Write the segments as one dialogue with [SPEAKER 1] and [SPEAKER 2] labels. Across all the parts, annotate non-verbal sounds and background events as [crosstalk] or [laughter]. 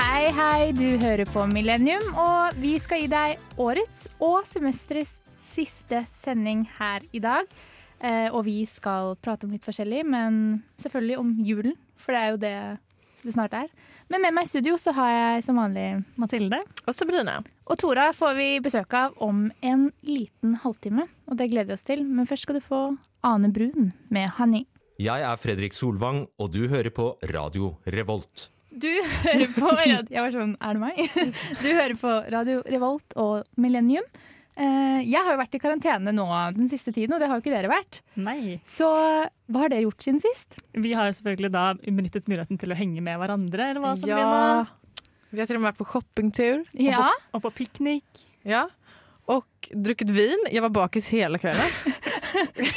[SPEAKER 1] Hei, hei, du hører på Millennium, og vi skal gi deg årets og semesterets siste sending her i dag. Eh, og vi skal prate om litt forskjellig, men selvfølgelig om julen, for det er jo det det snart er. Men med meg i studio så har jeg som vanlig
[SPEAKER 2] Mathilde.
[SPEAKER 3] Og Sabrina.
[SPEAKER 1] Og Tora får vi besøk av om en liten halvtime, og det gleder vi oss til. Men først skal du få Ane Brun med 'Honey'.
[SPEAKER 4] Jeg er Fredrik Solvang, og du hører på Radio Revolt.
[SPEAKER 1] Du hører [laughs] på radio- Jeg var sånn, er det meg? [laughs] Du hører på Radio Revolt og Millennium. Eh, Jeg har jo vært i karantene nå den siste tiden, og det har jo ikke dere vært.
[SPEAKER 2] Nei.
[SPEAKER 1] Så hva har dere gjort siden sist?
[SPEAKER 2] Vi har jo selvfølgelig da benyttet muligheten til å henge med hverandre, eller hva, Sabrina?
[SPEAKER 3] Ja. Vi har til og med vært på shoppingtur.
[SPEAKER 1] Ja,
[SPEAKER 2] Og på piknik.
[SPEAKER 3] Ja. Og drukket vin. Jeg var bakis hele kvelden.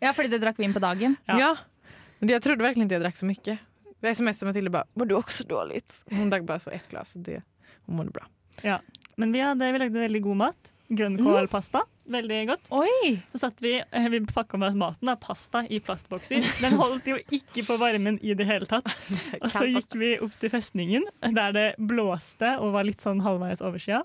[SPEAKER 1] ja fordi dere drakk vin på dagen.
[SPEAKER 2] [laughs] Ja.
[SPEAKER 3] ja. Men jeg trodde virkelig ikke jeg drakk så mye. Jeg smset Mathilde bare 'Mår du også dårlig?' Hun drakk bare så ett glass. og Det, hun mådde bra.
[SPEAKER 2] Men vi, hadde, vi lagde veldig god mat.
[SPEAKER 3] Mm.
[SPEAKER 2] Grønnkålpasta. Veldig godt.
[SPEAKER 1] Oi!
[SPEAKER 2] Så satt vi, eh, vi pakka med oss maten, da, pasta, i plastbokser. Den holdt jo ikke på varmen i det hele tatt. Og så gikk vi opp til festningen, der det blåste og var litt sånn halvveis overskya.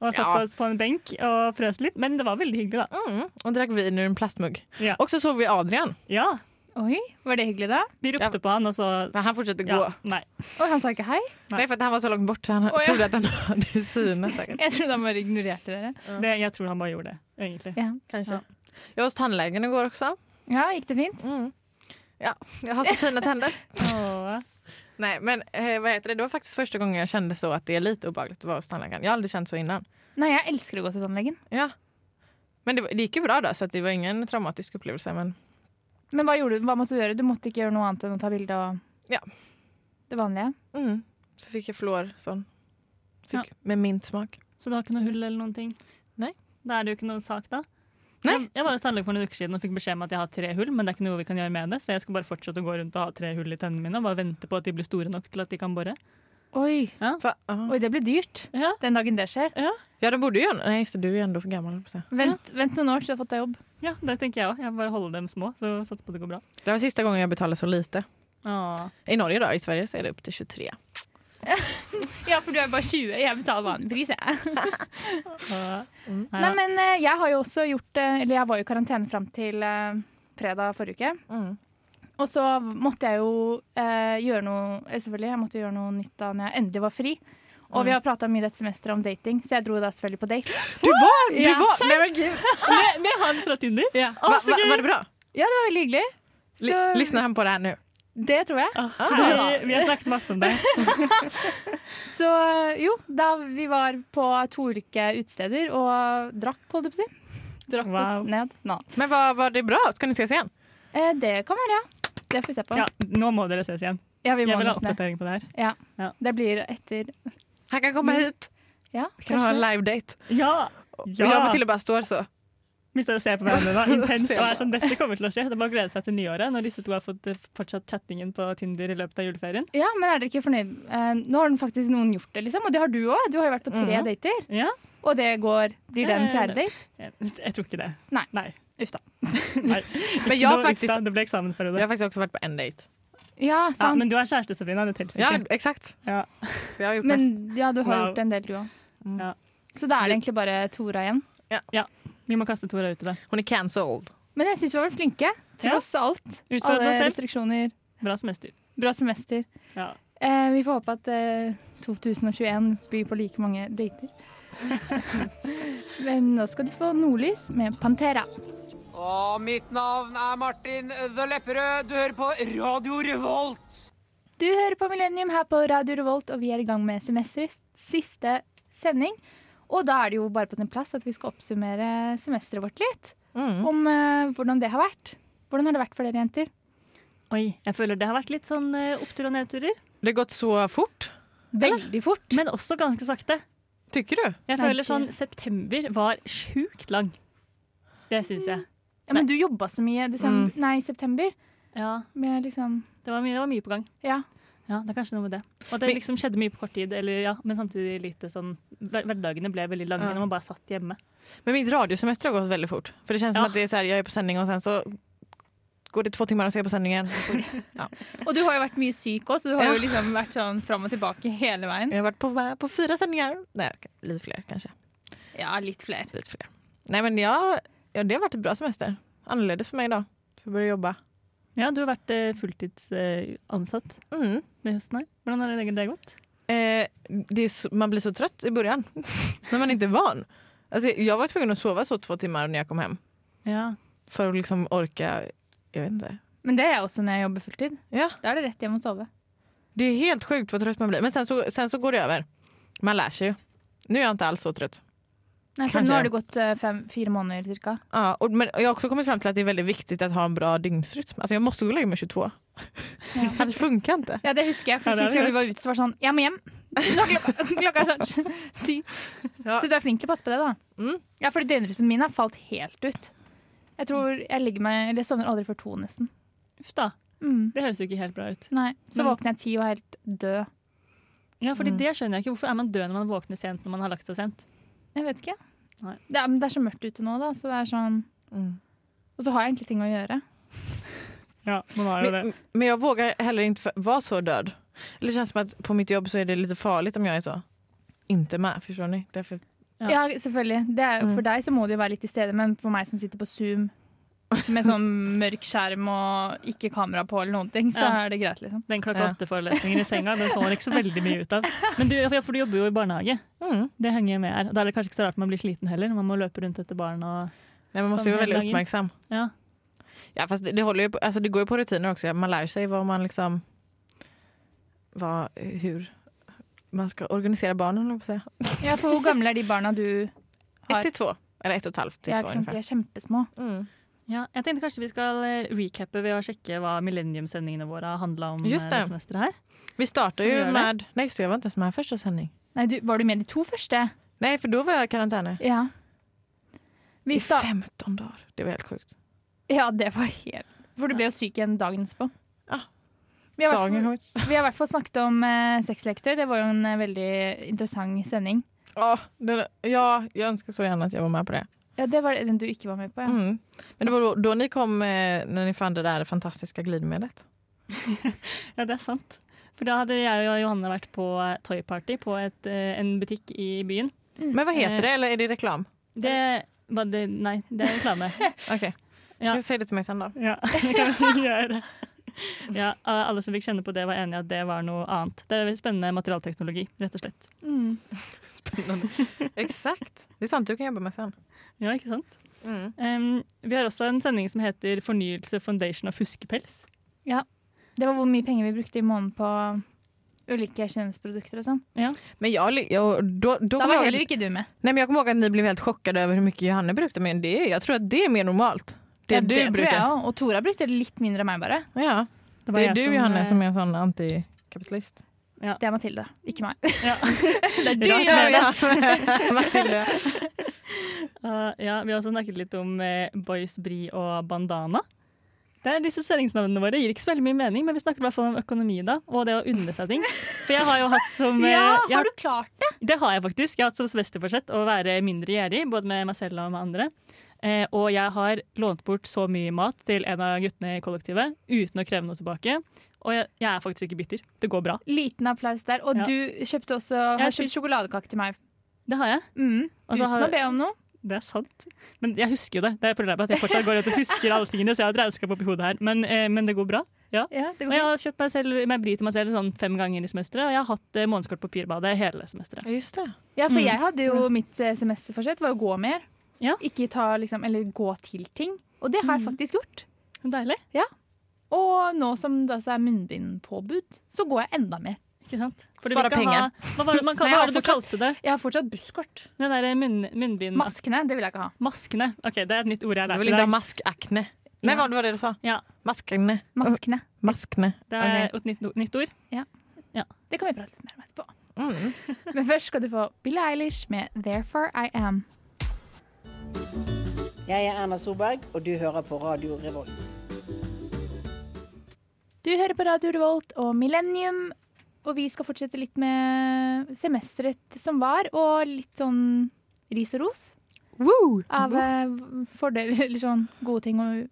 [SPEAKER 2] Og satte
[SPEAKER 3] Ja.
[SPEAKER 2] oss på en benk og frøs litt. Men det var veldig hyggelig, da.
[SPEAKER 3] Mm, og drakk vin ur en plastmugg.
[SPEAKER 2] Ja.
[SPEAKER 3] Og så så vi Adrian.
[SPEAKER 2] Ja,
[SPEAKER 1] Oi, Var det hyggelig, da?
[SPEAKER 2] Vi ropte på han, og så
[SPEAKER 3] Men han fortsatte gå.
[SPEAKER 2] ja, Nei.
[SPEAKER 1] Oi, han sa ikke hei?
[SPEAKER 2] Nei.
[SPEAKER 3] Nei, for at han var så langt bort, så
[SPEAKER 1] Å,
[SPEAKER 3] han
[SPEAKER 1] ja.
[SPEAKER 3] trodde at han [laughs] hadde syne. Sikkert.
[SPEAKER 1] Jeg trodde han bare ignorerte dere.
[SPEAKER 2] Det, jeg tror han bare gjorde det, egentlig.
[SPEAKER 1] Ja,
[SPEAKER 3] Kanskje. Jeg var hos tannlegen i går også.
[SPEAKER 1] ja gikk det fint?
[SPEAKER 3] Mm. Ja, jeg har så fine tenner.
[SPEAKER 2] Åh.
[SPEAKER 3] Nej, men eh, vad heter det? det var faktiskt första gången jag kände så att det är lite obehagligt att vara hos tandläkaren. Jag har aldrig känt så innan.
[SPEAKER 1] Nei, jeg elsker å gå til tannlegen.
[SPEAKER 3] Ja. Men det, var- det gick ju bra då, så att det var ingen traumatisk upplevelse. Men
[SPEAKER 1] Men hva, gjorde du? hva måtte du gjøre? Du måtte ikke gjøre noe annet enn å ta bilde og
[SPEAKER 3] Ja.
[SPEAKER 1] det vanlige?
[SPEAKER 3] mm. så fick jag fluor sån. Fick,
[SPEAKER 2] Ja.
[SPEAKER 3] Med mintsmak.
[SPEAKER 2] Så du har ikke noe hull eller noen ting?
[SPEAKER 3] Nei.
[SPEAKER 2] Da er det jo ikke noen sak, da.
[SPEAKER 3] Nei.
[SPEAKER 2] Jeg, jeg var hos tannlegen for noen uker siden og fikk beskjed om at jeg har tre hull, men det er ikke noe vi kan gjøre med det, så jeg skal bare fortsette å gå rundt og ha tre hull i tennene mine og bare vente på at de blir store nok til at de kan bore.
[SPEAKER 1] Oi,
[SPEAKER 3] Va? ja.
[SPEAKER 1] Oi det blir dyrt
[SPEAKER 2] Ja.
[SPEAKER 1] den dagen det skjer.
[SPEAKER 3] ja, de borde ju göra Nej, just det, du är ju ändå för gammal. höll jag på att säga.
[SPEAKER 1] Vent, vent noen år til du har fått deg jobb.
[SPEAKER 2] Ja, det tenker jeg òg. Jeg bare holder dem små, så satser på at det går bra.
[SPEAKER 3] Det var sista gången jag betalade så lite.
[SPEAKER 2] Åh.
[SPEAKER 3] I Norge då, i Sverige så är det upp till 23.
[SPEAKER 1] Ja, for du er bare 20. Jeg betaler vanlig pris, jeg.
[SPEAKER 2] Åh. Nei,
[SPEAKER 1] Nei,
[SPEAKER 2] da.
[SPEAKER 1] men eh, jeg har jo også gjort eh, Eller jeg var jo i karantene fram til eh, fredag forrige uke.
[SPEAKER 3] Mm.
[SPEAKER 1] Og så måtte jeg jo eh, gjøre noe eh, Selvfølgelig, jeg måtte gjøre noe nytt da når jeg endelig var fri. Og
[SPEAKER 2] Mm.
[SPEAKER 1] vi har prata mye dette semesteret om dating, så jeg dro da selvfølgelig på date.
[SPEAKER 3] Du var! Du
[SPEAKER 1] Ja.
[SPEAKER 3] var! Nej, men gud.
[SPEAKER 2] Med, med han fra Tinder?
[SPEAKER 1] Ja,
[SPEAKER 3] Va, va, var det bra?
[SPEAKER 1] det var veldig hyggelig.
[SPEAKER 3] L
[SPEAKER 1] Så
[SPEAKER 3] Lyssnar han på det här nu?
[SPEAKER 1] det tror jeg.
[SPEAKER 2] Åh, hei. Vi har snakket masse om det.
[SPEAKER 1] Så eh, jo, da vi var på to ulike utesteder og drakk, holdt jeg på å si. Drakk
[SPEAKER 2] Wow.
[SPEAKER 1] oss ned. Nå.
[SPEAKER 3] Men var, var det bra? Ska ni ses igen?
[SPEAKER 1] Eh, det kan være, ja. Det får vi se på.
[SPEAKER 2] Ja, nå må dere ses igjen.
[SPEAKER 1] Ja, vi må
[SPEAKER 2] Jeg vil ha
[SPEAKER 1] nesten det.
[SPEAKER 2] oppdatering på det her.
[SPEAKER 1] Det blir etter
[SPEAKER 3] Han kan komma hit.
[SPEAKER 1] Ja,
[SPEAKER 3] Vi kan ha en
[SPEAKER 1] kanskje.
[SPEAKER 3] live date.
[SPEAKER 2] Ja!
[SPEAKER 3] Ja. Jag och
[SPEAKER 2] ja.
[SPEAKER 3] Matilda bara står så.
[SPEAKER 2] Vi står og ser på hverandre
[SPEAKER 1] [laughs]
[SPEAKER 2] da, intenst
[SPEAKER 3] Ser
[SPEAKER 2] og
[SPEAKER 3] på.
[SPEAKER 2] er sånn, dette kommer til å skje. Det er bare å glede seg til nyåret, når disse to har fått eh, fortsatt chattingen på Tinder i løpet av juleferien.
[SPEAKER 1] Ja, men er dere ikke fornøyd? Eh, nå har den faktisk noen gjort det, liksom. Og det har du òg. Du har jo vært på tre
[SPEAKER 3] Mhm.
[SPEAKER 1] dater.
[SPEAKER 2] Ja?
[SPEAKER 1] Og det går Blir det en
[SPEAKER 2] Ja, ja,
[SPEAKER 1] fjerde
[SPEAKER 2] ja.
[SPEAKER 1] date?
[SPEAKER 2] Jeg, jeg tror ikke det.
[SPEAKER 1] Nei.
[SPEAKER 2] Nei.
[SPEAKER 1] Uff da. [laughs]
[SPEAKER 2] [laughs] Nei.
[SPEAKER 3] Men jeg har
[SPEAKER 2] Nå,
[SPEAKER 3] faktisk-
[SPEAKER 2] uff da, Det ble
[SPEAKER 3] Jag har
[SPEAKER 2] eksamensperiode.
[SPEAKER 3] faktiskt också varit på en dejt.
[SPEAKER 1] Ja,
[SPEAKER 2] Ja,
[SPEAKER 1] sant.
[SPEAKER 2] men du er kjæreste, Sabrina. Det teller
[SPEAKER 3] Ja,
[SPEAKER 2] ikke.
[SPEAKER 3] exakt.
[SPEAKER 2] Ja.
[SPEAKER 3] Så jag har gjort
[SPEAKER 1] men
[SPEAKER 3] mest.
[SPEAKER 1] ja, du har
[SPEAKER 2] Wow.
[SPEAKER 1] gjort en del, du òg.
[SPEAKER 2] Ja.
[SPEAKER 1] Så da er det egentlig bare Tora igjen.
[SPEAKER 2] Vi må kaste Tora ut i det.
[SPEAKER 3] Hon är cancelled.
[SPEAKER 1] Men jeg syns vi har vært flinke. Tross alt.
[SPEAKER 2] Utfordre
[SPEAKER 1] Alle
[SPEAKER 2] oss selv.
[SPEAKER 1] restriksjoner.
[SPEAKER 2] Bra semester.
[SPEAKER 1] Bra semester.
[SPEAKER 2] Ja.
[SPEAKER 1] Eh, vi får håpe at eh, 2021 byr på like mange
[SPEAKER 2] [laughs]
[SPEAKER 1] dater. Men nå skal du få nordlys med Pantera.
[SPEAKER 5] Og mitt navn er Martin The Lepperød. Du hører på Radio Revolt.
[SPEAKER 1] Du hører på Millennium her på Radio Revolt, og vi er i gang med semesterets siste sending. Og da er det jo bare på sin plass at vi skal oppsummere semesteret vårt litt.
[SPEAKER 3] Mm.
[SPEAKER 1] Om eh, hvordan det har vært. Hvordan har det vært for dere jenter?
[SPEAKER 2] Oi, jeg føler det har vært litt sånn eh, opptur og nedturer,
[SPEAKER 3] Det har gått så fort,
[SPEAKER 1] Veldig fort.
[SPEAKER 2] men også ganske sakte.
[SPEAKER 3] tycker du?
[SPEAKER 2] Jeg
[SPEAKER 1] Nei,
[SPEAKER 2] føler sånn
[SPEAKER 1] det-
[SPEAKER 2] september var sjukt lang. Det syns jeg.
[SPEAKER 1] Ja, men du jobba så mye i
[SPEAKER 3] Mm.
[SPEAKER 1] desember, nei, i september.
[SPEAKER 2] Ja,
[SPEAKER 1] Med liksom
[SPEAKER 2] det var mye, det var mye på gang.
[SPEAKER 1] Ja.
[SPEAKER 2] Ja, det er kanskje noe med det. Og at det
[SPEAKER 3] Men-
[SPEAKER 2] liksom skjedde mye på kort tid, eller, ja, men samtidig lite sånn hver- Hverdagene ble veldig lange
[SPEAKER 3] Ja.
[SPEAKER 2] når man bare satt hjemme.
[SPEAKER 3] Men mitt radiosemester har gått väldigt fort. För det sånn, känns
[SPEAKER 2] Ja.
[SPEAKER 3] som att det är så här, jag är på sändning och sen så går det två timmar och ser på sändningen.
[SPEAKER 1] Og du har jo vært mye syk òg, så du har
[SPEAKER 3] Ja.
[SPEAKER 1] jo liksom vært sånn fram og tilbake hele veien.
[SPEAKER 3] Jag har varit på, på fyra sändningar. Nej, okej, lite fler kanske.
[SPEAKER 1] Ja, litt flere.
[SPEAKER 3] Lite fler. Nej men jag, ja, det har varit ett bra semester. Annorledes för mig idag. För jag börjar jobba.
[SPEAKER 2] Ja, du har vært eh, fulltidsansatt
[SPEAKER 3] Mm.
[SPEAKER 2] den høsten her. Hvordan har det egentlig det gått?
[SPEAKER 3] Eh, det är, så- man blir så trött i början [laughs] när man inte är van. Alltså, jag var tvungen att sova så två timmar när jag kom hem
[SPEAKER 2] Ja.
[SPEAKER 3] för att liksom orka. Jag vet inte.
[SPEAKER 1] Men det er jeg også når jeg jobber fulltid.
[SPEAKER 3] Ja,
[SPEAKER 1] Da er det rett hjem og sove.
[SPEAKER 3] det är helt sjukt vad trött man blir. Men sen så, sen så går det över. Man lär sig ju. Nu är jag inte alls så trött.
[SPEAKER 1] Nei, for
[SPEAKER 3] Kanskje.
[SPEAKER 1] nå har det gått eh, fem, fire måneder cirka.
[SPEAKER 3] Ja, och, men jag har också kommit fram till att det är väldigt viktigt att ha en bra dygnsrytm. Alltså jag måste gå och lägga mig 22. [laughs] Annars funkar inte.
[SPEAKER 1] Ja, det husker jeg. For
[SPEAKER 2] Ja, det har
[SPEAKER 1] sist
[SPEAKER 2] vi
[SPEAKER 1] gang vi var ute, så var det sånn Jeg må hjem. [laughs] Nå er klokka, klokka er sånn [laughs] ti.
[SPEAKER 3] Ja.
[SPEAKER 1] Så du er flink til å passe på det, da.
[SPEAKER 3] Mm.
[SPEAKER 1] Ja, for døgnrytmen min har falt helt ut. Jeg tror jeg ligger meg Eller jeg sovner aldri før to, nesten.
[SPEAKER 2] Uff da.
[SPEAKER 1] Mm.
[SPEAKER 2] Det høres jo ikke helt bra ut.
[SPEAKER 1] Nei. Så
[SPEAKER 2] Men-
[SPEAKER 1] våkner jeg ti og er helt død.
[SPEAKER 2] Ja, fordi
[SPEAKER 3] Mm.
[SPEAKER 2] det skjønner jeg ikke. Hvorfor er man død når man våkner sent når man har lagt seg sent?
[SPEAKER 1] Jeg vet ikke.
[SPEAKER 2] Nei.
[SPEAKER 1] Det er, men det er så mørkt ute nå, da. Så det er sånn
[SPEAKER 3] Mm.
[SPEAKER 1] Og så har jeg egentlig ting å gjøre.
[SPEAKER 2] Ja, man har jo det.
[SPEAKER 3] Men, men jag vågar heller inte för- vara så död. Eller det känns som att på mitt jobb så är det lite farligt om jag är så. Inte med, förstår ni? Därför
[SPEAKER 1] Ja, selvfølgelig. Det er, For deg så må du jo være litt til stede, men for meg som sitter på Zoom med sånn mørk skjerm og ikke kamera på eller noen ting, så
[SPEAKER 2] Ja.
[SPEAKER 1] er det greit, liksom.
[SPEAKER 2] Den klokka
[SPEAKER 3] Ja.
[SPEAKER 2] åtte-forelesningen i senga den får man ikke så veldig mye ut av. Men du, ja, for du jobber jo i barnehage.
[SPEAKER 3] Mm.
[SPEAKER 2] Det henger jo med her. Da er det kanskje ikke så rart man blir sliten heller. Man må løpe rundt etter barn og
[SPEAKER 3] Nej, man måste
[SPEAKER 2] Som
[SPEAKER 3] ju vara väldigt
[SPEAKER 2] hela dagen.
[SPEAKER 3] uppmärksam.
[SPEAKER 2] Ja.
[SPEAKER 3] Ja, fast det, det, håller ju på, alltså det går ju på rutiner också. Man lär sig vad man liksom... Vad, hur man ska organisera barnen, höll jag på att säga.
[SPEAKER 1] Ja, for hvor gamle er de barna du har?
[SPEAKER 3] Ett til två. Eller ett och ett halvt till
[SPEAKER 1] Ja,
[SPEAKER 3] två
[SPEAKER 1] ikke sant? De
[SPEAKER 3] ungefär.
[SPEAKER 1] er kjempesmå.
[SPEAKER 3] Mm.
[SPEAKER 2] Ja, jeg tenkte kanskje vi skal eh, recappe ved å sjekke hva millenniumsendingene våre har handla om.
[SPEAKER 3] Just
[SPEAKER 2] eh,
[SPEAKER 3] det.
[SPEAKER 2] semesteret her.
[SPEAKER 3] Vi startar
[SPEAKER 2] Ska vi
[SPEAKER 3] ju
[SPEAKER 2] göra
[SPEAKER 3] med... Nej, just det, jag var inte ens med första sändning.
[SPEAKER 1] Nei, du, var du med de to første?
[SPEAKER 3] Nej, för då var jag i karantän.
[SPEAKER 1] Ja. Vi
[SPEAKER 3] I
[SPEAKER 1] sta
[SPEAKER 3] 15 dagar. Det var helt sjukt.
[SPEAKER 1] ja, det var helt For du ble jo syk igjen dagen etterpå.
[SPEAKER 3] Ja.
[SPEAKER 1] Vi har i hvert
[SPEAKER 3] Dagen
[SPEAKER 1] fall-
[SPEAKER 3] kom ut.
[SPEAKER 1] vi har i hvert fall snakket om eh, sexleketøy. Det var jo en eh, veldig interessant sending.
[SPEAKER 3] Ja, den, ja, jag önskar så gärna att jag var med på det.
[SPEAKER 1] Ja, Det var den du ikke var med på, ja.
[SPEAKER 3] Mm. Men det var då, då ni kom, eh, när ni fann det där fantastiska glidmedlet.
[SPEAKER 2] Ja, det er sant. For da hadde jeg og Johanne vært på eh, Toy Party på et, eh, en butikk i byen.
[SPEAKER 3] Men vad heter
[SPEAKER 2] Eh.
[SPEAKER 3] det? Eller är det reklam?
[SPEAKER 2] Det var det Nei, det er reklame.
[SPEAKER 3] [laughs] Okej.
[SPEAKER 2] Ja.
[SPEAKER 3] Säg det till mig
[SPEAKER 2] [laughs]
[SPEAKER 3] sen då.
[SPEAKER 2] Ja, det kan vi gjøre. Ja, alle som fikk kjenne på det, var enige at det var noe annet. Det er spennende materialteknologi, rett og slett.
[SPEAKER 1] Mm.
[SPEAKER 3] Exakt. Det är sånt du kan jobba med sen.
[SPEAKER 2] Ja, ikke sant? Mm. Em, vi har også en sending som heter 'Fornyelse, foundation og fuskepels'.
[SPEAKER 1] Det var hvor mye penger vi brukte i måneden på ulike kjendisprodukter og sånn.
[SPEAKER 3] Men jag, li- jag, då, då
[SPEAKER 1] Da
[SPEAKER 3] kommer
[SPEAKER 1] var
[SPEAKER 3] jag,
[SPEAKER 1] heller
[SPEAKER 3] nej,
[SPEAKER 1] ikke du med.
[SPEAKER 3] men jag kommer ihåg att ni blev helt chockade över hur mycket Johanna brukade. Men det, jag tror att det är mer normalt. Det
[SPEAKER 1] ja,
[SPEAKER 3] du
[SPEAKER 1] det tror
[SPEAKER 3] brukar.
[SPEAKER 1] jeg òg. Og Tora brukte litt mindre enn meg, bare.
[SPEAKER 3] Ja.
[SPEAKER 2] Det, var
[SPEAKER 3] Det är
[SPEAKER 2] jeg eh,
[SPEAKER 3] du Johanna som är en sånn antikapitalist.
[SPEAKER 1] Det er Mathilde, ikke meg.
[SPEAKER 2] Ja.
[SPEAKER 1] det er du,
[SPEAKER 2] Rart med
[SPEAKER 1] Johannes.
[SPEAKER 3] [laughs] Matilda.
[SPEAKER 2] Eh, ja, vi har også snakket litt om eh, Boys Brie og Bandana. Det er disse seringsnavnene våre gir ikke så veldig mye mening, men vi snakker i hvert fall om økonomi da, og det å unne seg ting. For jeg har jo hatt
[SPEAKER 1] [laughs]
[SPEAKER 2] som eh,
[SPEAKER 1] Ja,
[SPEAKER 2] jeg har
[SPEAKER 1] har du klart det?
[SPEAKER 2] Det har jeg faktisk. Jeg har hatt som semesterforsett å være mindre gjerrig, både med meg selv og med andre. Eh, og jeg har lånt bort så mye mat til en av guttene i kollektivet uten å kreve noe tilbake. Og jeg, jeg er faktisk ikke bitter. Det går bra.
[SPEAKER 1] Liten applaus der. Og
[SPEAKER 2] Ja.
[SPEAKER 1] du kjøpte også
[SPEAKER 2] Jeg
[SPEAKER 1] har kjøpt
[SPEAKER 2] spiste-
[SPEAKER 1] sjokoladekake til meg.
[SPEAKER 2] Det har jeg.
[SPEAKER 1] Mm.
[SPEAKER 2] Og så
[SPEAKER 1] Uten
[SPEAKER 2] har-
[SPEAKER 1] å be om noe.
[SPEAKER 2] Det er sant. Men jeg husker jo det. Det er problemet at jeg fortsatt går rundt og husker alle tingene, så jeg har et regnskap oppi hodet her. Men, eh, men det går bra.
[SPEAKER 1] Ja, det
[SPEAKER 2] Og
[SPEAKER 1] går
[SPEAKER 2] jeg
[SPEAKER 1] fint.
[SPEAKER 2] har kjøpt meg selv, meg bri til meg selv sånn fem ganger i semesteret, og jeg har hatt eh, månedskort på Pirbadet hele semesteret.
[SPEAKER 3] Ja, just det.
[SPEAKER 1] ja, for
[SPEAKER 2] Mm.
[SPEAKER 1] jeg hadde jo mitt eh, semesterforsett var å gå mer.
[SPEAKER 2] Ja. Mm.
[SPEAKER 1] Ikke ta liksom Eller gå til ting. Og det har jeg faktisk gjort.
[SPEAKER 2] Deilig.
[SPEAKER 1] Og nå som det altså er munnbindpåbud, så går jeg enda mer.
[SPEAKER 2] Ikke sant? Fordi
[SPEAKER 3] Spare
[SPEAKER 2] vi kan
[SPEAKER 3] penger.
[SPEAKER 2] Ha, hva var det, man
[SPEAKER 1] [laughs]
[SPEAKER 2] kan,
[SPEAKER 1] Nei, jeg
[SPEAKER 2] hva
[SPEAKER 1] har
[SPEAKER 2] var det du kalte det?
[SPEAKER 1] Jeg har fortsatt busskort.
[SPEAKER 2] Den derre munn, munnbind...
[SPEAKER 1] Maskene, det vil jeg ikke ha.
[SPEAKER 2] Maskene. Ok, Det er et nytt ord jeg har
[SPEAKER 3] Du
[SPEAKER 2] lært
[SPEAKER 3] vill
[SPEAKER 2] i
[SPEAKER 3] inte ha
[SPEAKER 2] dag.
[SPEAKER 3] maskakne. Nej, vad var det du sa?
[SPEAKER 2] Ja.
[SPEAKER 3] Maskakne.
[SPEAKER 1] Maskene.
[SPEAKER 3] Maskne.
[SPEAKER 2] Det er et nytt, nytt ord.
[SPEAKER 1] Det kan vi prate litt mer om etterpå.
[SPEAKER 3] Okej. Mm.
[SPEAKER 1] Men først skal du få Billie Eilish med 'Therefore I Am'.
[SPEAKER 6] Jeg er Erna Solberg, og du hører på Radio Revolt.
[SPEAKER 1] Du hører på Radio Revolt og Millennium, og vi skal fortsette litt med semesteret som var, og litt sånn ris og ros.
[SPEAKER 3] Woo!
[SPEAKER 1] av eh, fordeler [laughs] eller sånn gode ting og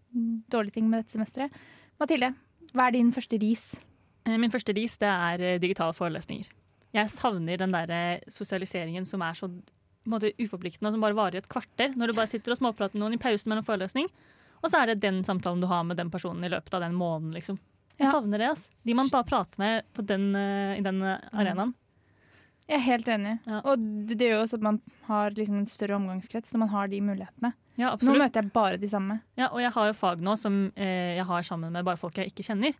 [SPEAKER 1] dårlige ting med dette semesteret. Mathilde, hva er din første ris?
[SPEAKER 2] Eh, Min første ris det er eh, digitale forelesninger. Jeg savner den der eh, sosialiseringen som er så på en måte, uforpliktende, og som bare varer i et kvarter. Når du bare sitter og småprater med noen i pausen mellom forelesning, og så er det den samtalen du har med den personen i løpet av den måneden. liksom. Jeg
[SPEAKER 1] Ja.
[SPEAKER 2] savner det. ass. De man bare prater med på den, eh, i den eh, arenaen.
[SPEAKER 1] Jeg er helt enig.
[SPEAKER 2] Ja.
[SPEAKER 1] Og det det gjør jo også at man har liksom en større omgangskrets, så man har de mulighetene.
[SPEAKER 2] Ja,
[SPEAKER 1] Nå
[SPEAKER 2] absolutt.
[SPEAKER 1] møter jeg bare de samme.
[SPEAKER 2] Ja, og jeg har jo fag nå som eh, jeg har sammen med bare folk jeg ikke kjenner.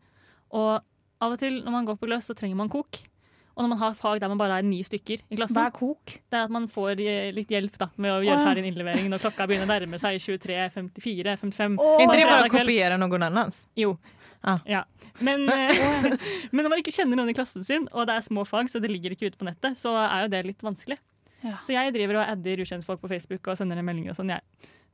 [SPEAKER 2] Og av og til når man går på gløss, så trenger man kok. Og når man har fag der man bare er ni stykker i klassen,
[SPEAKER 1] Hva er kok?
[SPEAKER 2] det er at man får eh, litt hjelp da, med å
[SPEAKER 1] Å,
[SPEAKER 2] gjøre
[SPEAKER 1] ja.
[SPEAKER 2] ferdig en innlevering når klokka begynner å nærme seg 23, 54, 55.
[SPEAKER 1] Å,
[SPEAKER 3] Är inte det bara
[SPEAKER 2] fredag
[SPEAKER 3] att
[SPEAKER 2] kväll.
[SPEAKER 3] kopiera någon annans?
[SPEAKER 2] Jo.
[SPEAKER 3] Ah.
[SPEAKER 2] Ja. Men, eh, [laughs] men når man ikke kjenner noen i klassen sin, og det er små fag, så det ligger ikke ute på nettet, så er jo det litt vanskelig.
[SPEAKER 1] Ja.
[SPEAKER 2] Så jeg driver og adder ukjentfolk på Facebook og sender dem meldinger og sånn, jeg.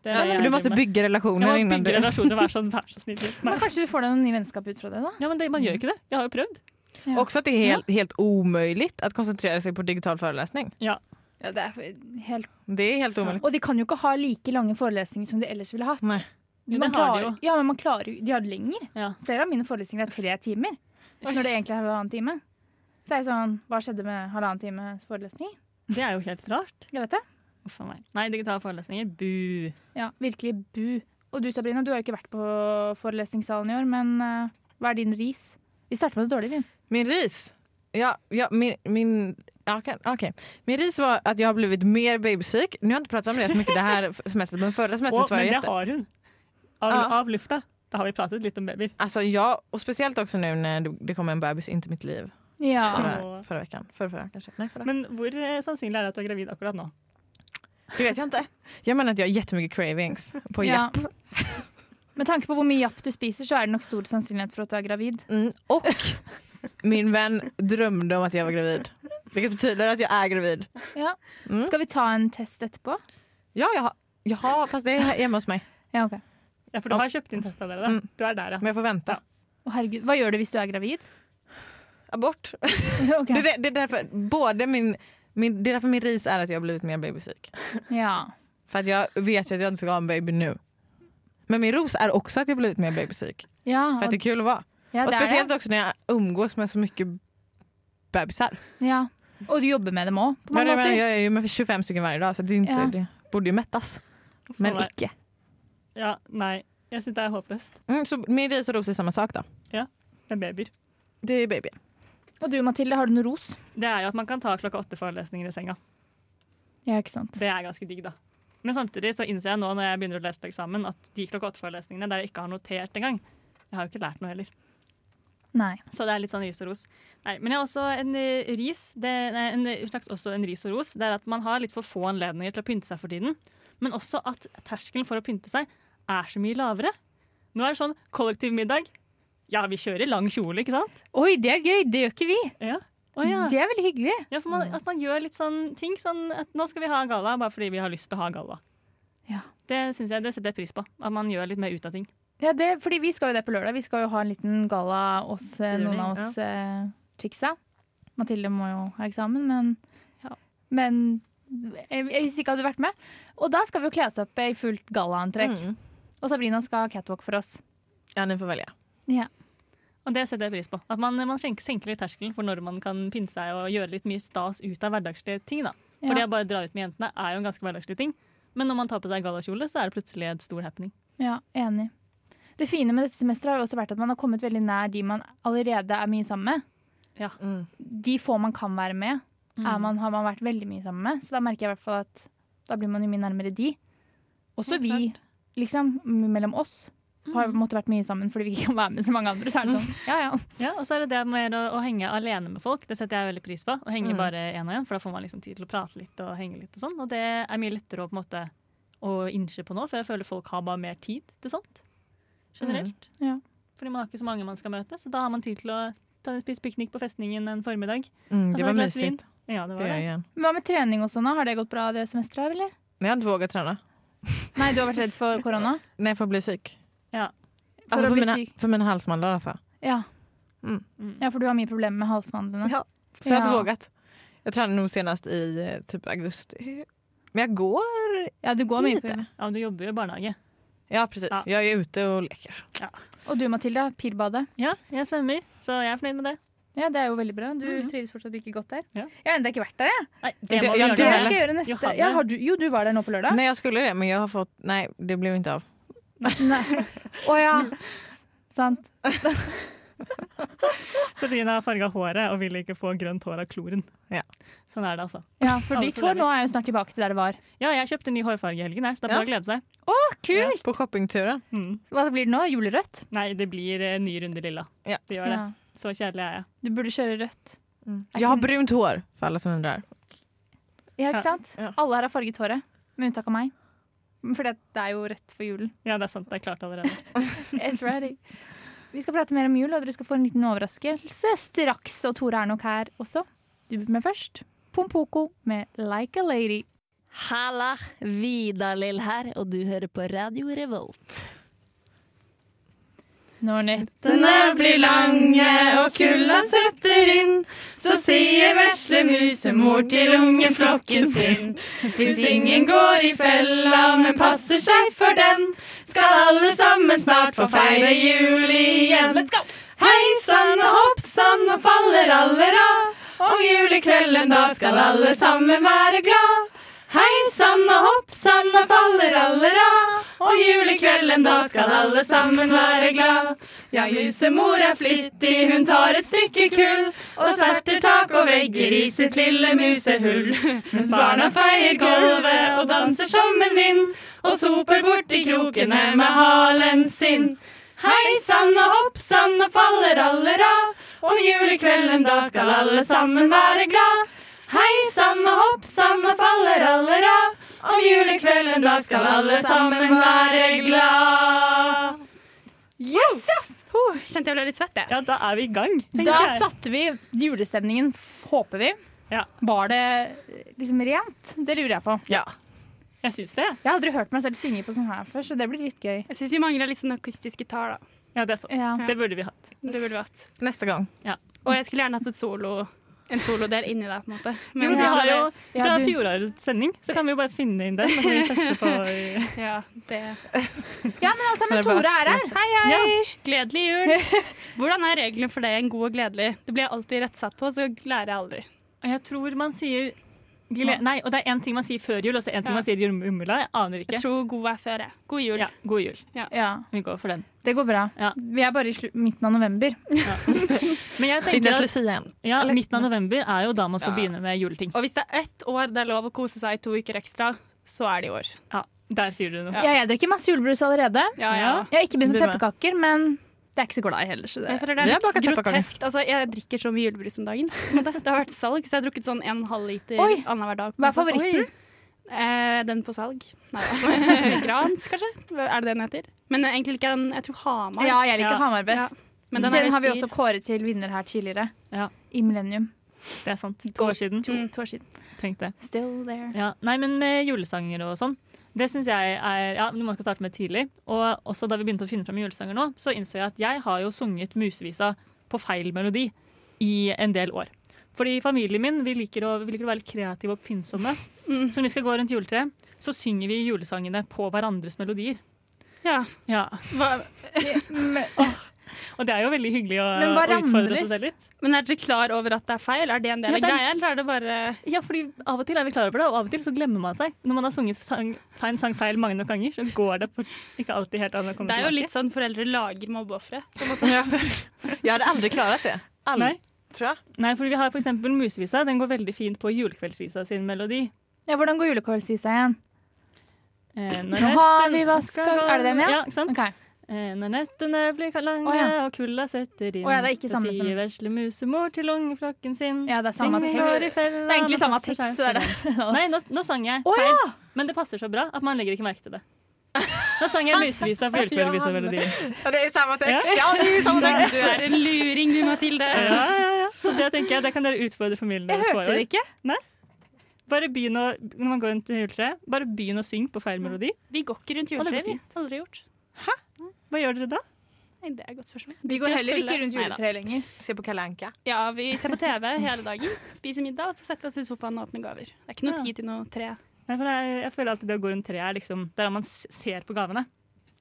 [SPEAKER 2] Det er det jeg
[SPEAKER 3] För du måste
[SPEAKER 2] driver med.
[SPEAKER 3] bygga
[SPEAKER 2] Ja,
[SPEAKER 3] relationer
[SPEAKER 2] man
[SPEAKER 3] innan
[SPEAKER 2] bygger
[SPEAKER 3] du...
[SPEAKER 2] relasjoner, vær sånn, vær så snill. Nei.
[SPEAKER 1] [laughs] Men kanskje du får deg noen nye vennskap ut fra det, da?
[SPEAKER 2] Ja, men det, man gjør jo ikke det. Jeg har jo prøvd.
[SPEAKER 1] Ja.
[SPEAKER 3] Också att det är helt, helt omöjligt att koncentrera sig på digital föreläsning.
[SPEAKER 1] Ja, det er helt...
[SPEAKER 3] Det är helt omöjligt.
[SPEAKER 1] Og de kan jo ikke ha like lange forelesninger som de ellers ville hatt.
[SPEAKER 3] Nej.
[SPEAKER 2] Jo,
[SPEAKER 1] Man
[SPEAKER 2] det har de jo.
[SPEAKER 1] klarer- Ja, men man klarer jo De har det lenger.
[SPEAKER 2] Ja.
[SPEAKER 1] Flere av mine forelesninger er tre timer, når det egentlig er halvannen time. Så er jeg sånn Hva skjedde med halvannen times forelesning?
[SPEAKER 2] Det er jo helt rart.
[SPEAKER 1] Jeg vet det.
[SPEAKER 2] Uff a meg. Nei, digitale forelesninger. Bu.
[SPEAKER 1] Ja, virkelig bu. Og du Sabrina, du har jo ikke vært på forelesningssalen i år, men eh, hva er din ris? Vi starter med det dårlige, vi.
[SPEAKER 3] Min ris? Ja, ja min... min ja, kan- okej. Min ris var att jag har blivit mer babysyk. Nu har jag inte pratat om det så mycket
[SPEAKER 2] [laughs]
[SPEAKER 3] det här semestret, men förra
[SPEAKER 2] Å,
[SPEAKER 3] semestret var jag
[SPEAKER 2] men det
[SPEAKER 3] jätte...
[SPEAKER 2] har hun. Av,
[SPEAKER 3] Ja.
[SPEAKER 2] av lufta. Da har vi pratet litt om babyer.
[SPEAKER 3] Alltså jag, och speciellt också nu när det- det kom en bebis in till mitt liv
[SPEAKER 1] Ja.
[SPEAKER 3] förra, förra veckan. Förra, förra kanske? Nej, förra.
[SPEAKER 2] Men hvor eh, sannsynlig er det at du er gravid akkurat nå?
[SPEAKER 3] Det vet jag inte. Jag menar att jag har jättemycket cravings på
[SPEAKER 1] Ja.
[SPEAKER 3] japp.
[SPEAKER 1] [laughs] Med tanke på hvor mye japp du spiser, så er det nok stor sannsynlighet for at du er gravid.
[SPEAKER 3] Mm, och min vän drömde om att jag var gravid. Vilket betyder att jag är gravid.
[SPEAKER 1] Ja.
[SPEAKER 3] Mm.
[SPEAKER 1] Skal vi ta en test etterpå?
[SPEAKER 3] Ja, jag har, jag har fast det är hemma hos mig.
[SPEAKER 1] Ja, ok.
[SPEAKER 2] Ja, for du har kjøpt inn test av dere, da.
[SPEAKER 3] Mm.
[SPEAKER 2] Du er der,
[SPEAKER 3] Men
[SPEAKER 2] ja.
[SPEAKER 3] jag får vänta.
[SPEAKER 1] Å, herregud. Hva gjør du hvis du er gravid?
[SPEAKER 3] Abort.
[SPEAKER 1] Ok.
[SPEAKER 3] Det, är- det är därför både min, min, det är därför min ris är att jag har blivit mer babysyk.
[SPEAKER 1] Ja.
[SPEAKER 3] För att jag vet ju att jag inte ska ha en baby nu. Men min ros är också att jag har blivit mer babysyk.
[SPEAKER 1] Ja,
[SPEAKER 3] För att det är kul att vara.
[SPEAKER 1] ja,
[SPEAKER 3] Och
[SPEAKER 1] det er
[SPEAKER 3] speciellt
[SPEAKER 1] det.
[SPEAKER 3] också när jag umgås med så mycket bebisar.
[SPEAKER 1] Ja. Og du jobber med dem òg, på
[SPEAKER 3] Men
[SPEAKER 1] mange
[SPEAKER 3] jag, menar,
[SPEAKER 1] måter.
[SPEAKER 3] jag är ju med 25 stycken varje dag så det, är inte,
[SPEAKER 1] Ja.
[SPEAKER 3] det borde ju mättas. Men
[SPEAKER 2] Fan,
[SPEAKER 3] icke.
[SPEAKER 2] ja nei. Jeg syns det er håpløst.
[SPEAKER 3] Mm, så min ris och ros är samma sak då.
[SPEAKER 2] Med babyer.
[SPEAKER 3] Det är baby.
[SPEAKER 1] Og du Mathilde, har du noe ros?
[SPEAKER 2] Det er jo at man kan ta klokka åtte forelesninger i senga.
[SPEAKER 1] Ja, ikke sant.
[SPEAKER 2] Det er ganske digg, da. Men samtidig så innser jeg nå når jeg begynner å lese på eksamen, at de klokka åtte-forelesningene der jeg ikke har notert engang Jeg har jo ikke lært noe heller.
[SPEAKER 1] Nei.
[SPEAKER 2] Så det er litt sånn ris og ros. Nei, men jeg har også en eh, ris det, nei, en eh, slags også en ris og ros. Det er at man har litt for få anledninger til å pynte seg for tiden. Men også at terskelen for å pynte seg er så mye lavere. Nå er det sånn kollektiv middag. Ja, vi kjører lang kjole, ikke sant?
[SPEAKER 1] Oi, det er gøy! Det gjør ikke vi.
[SPEAKER 2] Ja. Å ja.
[SPEAKER 1] Det er veldig hyggelig.
[SPEAKER 2] ja for man, at man gjør litt sånn ting. Sånn at nå skal vi ha galla bare fordi vi har lyst til å ha galla.
[SPEAKER 1] Ja.
[SPEAKER 2] Det synes jeg, det setter jeg pris på. At man gjør litt mer ut av ting.
[SPEAKER 1] Ja, det, fordi vi skal jo det på lørdag. Vi skal jo ha en liten galla oss, eh,
[SPEAKER 3] Juni,
[SPEAKER 1] noen av oss eh, chicksa. Mathilde må jo ha eksamen, men,
[SPEAKER 2] Ja.
[SPEAKER 1] men jeg, jeg visste ikke jeg hadde vært med. Og da skal vi jo kle oss opp eh, i fullt gallaantrekk.
[SPEAKER 3] Mm.
[SPEAKER 1] Og Sabrina skal ha catwalk for oss.
[SPEAKER 3] Ja, ni får välja.
[SPEAKER 2] Og det setter jeg pris på. At man, man senker- senker litt terskelen for når man kan pynte seg og gjøre litt mye stas ut av hverdagslige ting. da. For det
[SPEAKER 1] Ja.
[SPEAKER 2] å bare dra ut med jentene er jo en ganske hverdagslig ting. Men når man tar på seg gallakjole, så er det plutselig et stor happening.
[SPEAKER 1] ja, enig. Det fine med dette semesteret har jo også vært at man har kommet veldig nær de man allerede er mye sammen med.
[SPEAKER 3] Mm.
[SPEAKER 1] De få man kan være med, er man, har man vært veldig mye sammen med. Så da merker jeg i hvert fall at da blir man jo mye nærmere de. Også
[SPEAKER 2] Ja,
[SPEAKER 1] vi, liksom, m- mellom oss. Har måttet vært mye sammen fordi vi ikke kan være med så mange andre. Så er det sånn, ja, ja.
[SPEAKER 2] Ja, Og så er det det med å, å henge alene med folk. Det setter jeg veldig pris på. Å henge
[SPEAKER 3] Mm.
[SPEAKER 2] bare én og én, for da får man liksom tid til å prate litt og henge litt. Og sånn. Og det er mye lettere å på en måte å innse på nå, for jeg føler folk har bare mer tid til sånt. Generelt.
[SPEAKER 1] Mm. Ja.
[SPEAKER 2] Fordi man har ikke så mange man skal møte, så da har man tid til å ta, spise piknik på festningen en formiddag.
[SPEAKER 3] Mm, det
[SPEAKER 2] Ta
[SPEAKER 3] var
[SPEAKER 2] et glass
[SPEAKER 3] mysigt.
[SPEAKER 2] vin. Ja, det var
[SPEAKER 3] Det gör jag
[SPEAKER 2] det.
[SPEAKER 3] igen.
[SPEAKER 1] Men Hva med trening og sånn? da? Har det gått bra det semesteret her, eller?
[SPEAKER 3] Men Jag har inte vågat träna.
[SPEAKER 1] Nei, du har vært redd for korona?
[SPEAKER 3] Nej, för att bli psyk.
[SPEAKER 2] Ja.
[SPEAKER 1] För
[SPEAKER 3] Alltså,
[SPEAKER 1] att
[SPEAKER 3] för,
[SPEAKER 1] bli
[SPEAKER 3] mina,
[SPEAKER 1] psyk.
[SPEAKER 3] för mina halsmandlar alltså.
[SPEAKER 1] Ja.
[SPEAKER 3] Mm.
[SPEAKER 1] ja, for du har mye problemer med halsmandlene.
[SPEAKER 3] Ja. Så jag
[SPEAKER 1] Ja.
[SPEAKER 3] har inte vågat. Jag tränade nog senast i eh, typ augusti. Men jag går.
[SPEAKER 1] Ja, du går mye på
[SPEAKER 3] Lite.
[SPEAKER 1] jobb.
[SPEAKER 2] Ja, men du jobber jo i barnehage.
[SPEAKER 3] Ja, precis.
[SPEAKER 2] Ja.
[SPEAKER 3] Jag är ute och leker.
[SPEAKER 1] Og du Matilda, pirbadet.
[SPEAKER 2] Ja, jeg svømmer, så jeg er fornøyd med det.
[SPEAKER 1] Ja, det er jo veldig bra. Du trives fortsatt like godt der.
[SPEAKER 2] Mm. Ja.
[SPEAKER 1] Jeg har ennå ikke vært der, jeg.
[SPEAKER 2] Nei,
[SPEAKER 3] Det-
[SPEAKER 2] det må
[SPEAKER 3] ja,
[SPEAKER 2] vi
[SPEAKER 1] Det
[SPEAKER 3] det-
[SPEAKER 2] gjøre.
[SPEAKER 1] skal
[SPEAKER 2] Det.
[SPEAKER 1] jeg gjøre neste.
[SPEAKER 2] Johanne.
[SPEAKER 1] Ja, har du, jo, du var der nå på lørdag.
[SPEAKER 3] Nej, jag skulle det, men jag har fått... Nej, det blev inte av.
[SPEAKER 1] [laughs] Nei. Å
[SPEAKER 2] [laughs]
[SPEAKER 1] ja. Sant.
[SPEAKER 2] Celine har farga håret og vil ikke få grønt hår av kloren.
[SPEAKER 3] Ja.
[SPEAKER 2] Sånn er det, altså.
[SPEAKER 1] Ja, for
[SPEAKER 2] Alle
[SPEAKER 1] ditt hår nå er jo snart tilbake til der det var.
[SPEAKER 2] Ja, jeg kjøpte ny hårfarge i helgen, jeg, så det er bare å glede seg.
[SPEAKER 1] Å, kult!
[SPEAKER 3] På shoppingturen.
[SPEAKER 2] Mm.
[SPEAKER 1] Hva blir det nå? Julerødt?
[SPEAKER 2] Nei, det blir eh, ny runde lilla.
[SPEAKER 3] Ja.
[SPEAKER 2] Det gjør det.
[SPEAKER 1] Ja.
[SPEAKER 2] Så kjedelig er jeg.
[SPEAKER 1] Du burde kjøre rødt.
[SPEAKER 3] Jag har brunt hår, för alla som undrar.
[SPEAKER 1] Ja, ikke sant?
[SPEAKER 3] Ja.
[SPEAKER 1] Alle her har farget håret, med unntak av meg. For det er jo rødt for julen.
[SPEAKER 2] Ja, det er sant. Det er klart
[SPEAKER 7] [laughs]
[SPEAKER 2] allerede.
[SPEAKER 1] It's
[SPEAKER 2] [laughs]
[SPEAKER 1] ready. Vi skal prate mer om jul, og dere skal få en liten overraskelse straks. Og Tore er nok her også. Du med først. Pompoko med Like a Lady.
[SPEAKER 8] Halla! Vidar-Lill her, og du hører på Radio Revolt.
[SPEAKER 1] Når
[SPEAKER 8] nettene blir lange og kulda
[SPEAKER 7] setter inn, så sier vesle musemor til ungeflokken sin. Hvis ingen går i fella, men passer seg for den, skal alle sammen snart få feire jul igjen. Let's go! Hei sann og hopp sann og faller aller av. Om julekvelden da skal alle sammen være glad. Hei sann og hopp sann og faller aller av. Og julekvelden da skal alle sammen være glad. Ja, musemor er flittig, hun tar et stykke kull og sverter tak og vegger i sitt lille musehull. Mens barna feier gulvet og danser som en vind og soper borti krokene med halen sin. Hei sann og hopp sann og faller aller av. Om julekvelden da skal alle sammen være glad. Hei sann og hopp sann og faller aller av. Om julekvelden da skal alle sammen være glad. Yes! Huh, kjente jeg ble litt svett, jeg.
[SPEAKER 2] Ja, da er vi i gang, tenker
[SPEAKER 1] Da
[SPEAKER 2] jeg.
[SPEAKER 1] satte vi julestemningen, håper vi.
[SPEAKER 2] Ja.
[SPEAKER 1] Var det liksom rent? Det lurer jeg på.
[SPEAKER 3] Ja.
[SPEAKER 2] Jeg syns det.
[SPEAKER 1] Jeg har aldri hørt meg selv synge på sånn her før, så det blir litt gøy.
[SPEAKER 7] Jeg syns vi mangler litt sånn akustisk gitar, da.
[SPEAKER 2] Ja, det er sant.
[SPEAKER 1] Ja.
[SPEAKER 2] Det burde vi hatt.
[SPEAKER 7] Det burde vi hatt.
[SPEAKER 3] Nästa gång.
[SPEAKER 7] Og jeg skulle gjerne hatt et solo, en solodel inni der, på en måte.
[SPEAKER 2] Jo,
[SPEAKER 7] Men
[SPEAKER 2] vi har jo
[SPEAKER 1] Ja,
[SPEAKER 2] Fra
[SPEAKER 1] du-
[SPEAKER 2] fjorårets sending, så kan vi jo bare finne inn den. Og så kan vi sette på
[SPEAKER 7] [laughs] Ja, det
[SPEAKER 1] Ja, men altså, men
[SPEAKER 3] Nervøst,
[SPEAKER 1] Tore er her. Hei,
[SPEAKER 7] Ja. Gledelig jul! Hvordan er reglene for det? En god og gledelig. Det blir jeg alltid rettsatt på, så lærer jeg aldri.
[SPEAKER 2] Jeg tror man sier gle- Nei, og det er én ting man sier før jul, og så én ting
[SPEAKER 7] Ja.
[SPEAKER 2] man sier i jumla. Jeg aner ikke.
[SPEAKER 7] Jeg tror god er før, jeg. God jul.
[SPEAKER 2] Ja, god jul.
[SPEAKER 1] Ja,
[SPEAKER 2] Vi går for den.
[SPEAKER 1] det går bra.
[SPEAKER 2] Ja.
[SPEAKER 1] Vi er bare i slu midten av november.
[SPEAKER 2] Men jeg
[SPEAKER 3] Inte
[SPEAKER 2] tenker
[SPEAKER 3] ens
[SPEAKER 2] at
[SPEAKER 3] Lucia än.
[SPEAKER 2] ja, midten av november er jo da man skal
[SPEAKER 7] Ja.
[SPEAKER 2] begynne med juleting.
[SPEAKER 7] Og hvis det er ett år det er lov å kose seg i to uker ekstra, så er det i år.
[SPEAKER 2] Ja, Der sier du noe.
[SPEAKER 1] Ja, jeg drikker masse julebrus allerede.
[SPEAKER 7] Ja, ja.
[SPEAKER 2] Ja.
[SPEAKER 1] Jeg har ikke begynt med
[SPEAKER 3] Du med.
[SPEAKER 1] pepperkaker, men det er ikke så glad i heller. Så det.
[SPEAKER 7] Jeg føler det
[SPEAKER 3] Vi
[SPEAKER 7] er
[SPEAKER 3] har baket
[SPEAKER 7] litt
[SPEAKER 3] pepperkaker.
[SPEAKER 7] groteskt. Altså, jeg drikker så mye julebrus om dagen. på en måte. Det har vært salg, så jeg har drukket sånn en halv liter
[SPEAKER 1] Oi.
[SPEAKER 7] annenhver dag. på en
[SPEAKER 1] Hva er
[SPEAKER 7] måte.
[SPEAKER 1] favoritten?
[SPEAKER 7] Eh, den på salg. Nei da. [laughs] Grans, kanskje? Er det det den heter? Men egentlig ikke den. Jeg tror Hamar.
[SPEAKER 1] Ja, jeg liker
[SPEAKER 2] Ja.
[SPEAKER 1] Hamar best.
[SPEAKER 7] Men
[SPEAKER 1] Den,
[SPEAKER 7] den, er litt
[SPEAKER 1] har vi
[SPEAKER 7] dyr.
[SPEAKER 1] også kåret til vinner her tidligere.
[SPEAKER 2] Ja.
[SPEAKER 1] I Millennium.
[SPEAKER 2] Det er sant. To år siden.
[SPEAKER 7] Mm.
[SPEAKER 1] To år siden.
[SPEAKER 2] Tenk det.
[SPEAKER 1] Still there. [laughs]
[SPEAKER 2] Ja, nei, men med julesanger og sånn. Det syns jeg er ja, noe man skal starte med tidlig. Og også da vi begynte å finne fram julesanger nå, så innså jeg at jeg har jo sunget Musevisa på feil melodi i en del år. Fordi familien min, vi liker å, vi liker å være litt kreative og oppfinnsomme. Så når vi skal gå rundt juletreet, så synger vi julesangene på hverandres melodier.
[SPEAKER 7] Ja.
[SPEAKER 2] Ja,
[SPEAKER 7] Hva,
[SPEAKER 1] Men,
[SPEAKER 2] Og det er jo veldig hyggelig å,
[SPEAKER 1] Men
[SPEAKER 2] å
[SPEAKER 1] hverandres?
[SPEAKER 2] utfordre seg selv litt.
[SPEAKER 7] men er dere klar over at det er feil? Er det en del
[SPEAKER 2] Ja,
[SPEAKER 7] av
[SPEAKER 2] det er-
[SPEAKER 7] greia, eller er det bare
[SPEAKER 2] Ja, fordi Av og til er vi klar over det, og av og til så glemmer man seg. Når man har sunget sang, feil sang feil mange nok ganger, så går det på, ikke alltid helt an å komme
[SPEAKER 7] Det er jo
[SPEAKER 2] tilbake.
[SPEAKER 7] litt sånn foreldre lager mobbeofre.
[SPEAKER 3] Jag hade aldrig klarat det. Aldrig,
[SPEAKER 2] Nei.
[SPEAKER 3] tror jag.
[SPEAKER 2] Nei, for vi har for eksempel Musevisa. Den går veldig fint på julekveldsvisa sin melodi.
[SPEAKER 1] ja, hvordan går julekålsvisa igjen?
[SPEAKER 2] Eh, når
[SPEAKER 1] Nå har
[SPEAKER 2] netten
[SPEAKER 1] vi vaska
[SPEAKER 2] skal gå-
[SPEAKER 1] Er det den, ja?
[SPEAKER 2] ja ikke sant?
[SPEAKER 1] Ok.
[SPEAKER 2] Eh, når nettene blir ka- lange
[SPEAKER 1] Å, ja.
[SPEAKER 2] og kulda setter inn,
[SPEAKER 1] Å, ja, det er ikke
[SPEAKER 2] så
[SPEAKER 1] samme som-
[SPEAKER 2] sier vesle musemor til ungeflokken sin
[SPEAKER 1] Ja, det er samme
[SPEAKER 2] Sing,
[SPEAKER 1] tekst.
[SPEAKER 2] går i fella,
[SPEAKER 1] Det er egentlig
[SPEAKER 2] nå
[SPEAKER 1] samme
[SPEAKER 2] passer
[SPEAKER 1] tekst.
[SPEAKER 2] seg
[SPEAKER 1] så Det er
[SPEAKER 2] for den.
[SPEAKER 1] det.
[SPEAKER 2] Nei, nå, nå sang jeg
[SPEAKER 1] Å,
[SPEAKER 2] feil,
[SPEAKER 1] ja!
[SPEAKER 2] men det passer så bra at man legger ikke merke til det. Nå
[SPEAKER 1] [laughs]
[SPEAKER 2] sang jeg Musevisa på julekveldsvisa-melodien.
[SPEAKER 3] Ja, det är samma
[SPEAKER 2] text.
[SPEAKER 3] Ja, det är samma text.
[SPEAKER 7] Du er en luring, du, Mathilde.
[SPEAKER 2] Ja, ja, ja. Så det tenker jeg, det kan dere utfordre familien
[SPEAKER 1] Jeg
[SPEAKER 2] deres på. i
[SPEAKER 1] hørte det
[SPEAKER 2] år.
[SPEAKER 1] ikke.
[SPEAKER 2] Bare begynn å, når man går rundt juletreet, bare begynn å synge på feil melodi.
[SPEAKER 7] Vi går ikke rundt
[SPEAKER 2] Ja, det
[SPEAKER 7] juletreet,
[SPEAKER 2] går
[SPEAKER 7] vi. Aldri gjort.
[SPEAKER 2] Hva gjør dere da?
[SPEAKER 7] Nei, det er et godt spørsmål.
[SPEAKER 1] Vi går heller ikke rundt
[SPEAKER 7] Neida.
[SPEAKER 1] juletreet lenger.
[SPEAKER 3] Se på Kalanka.
[SPEAKER 7] Ja, vi ser på TV hele dagen, spiser middag, og så setter vi oss i sofaen og åpner gaver. Det er ikke noe
[SPEAKER 2] Ja.
[SPEAKER 7] tid til noe tre.
[SPEAKER 2] Nei, for jeg, jeg føler alltid det å gå rundt treet er liksom Det er da man s- ser på gavene.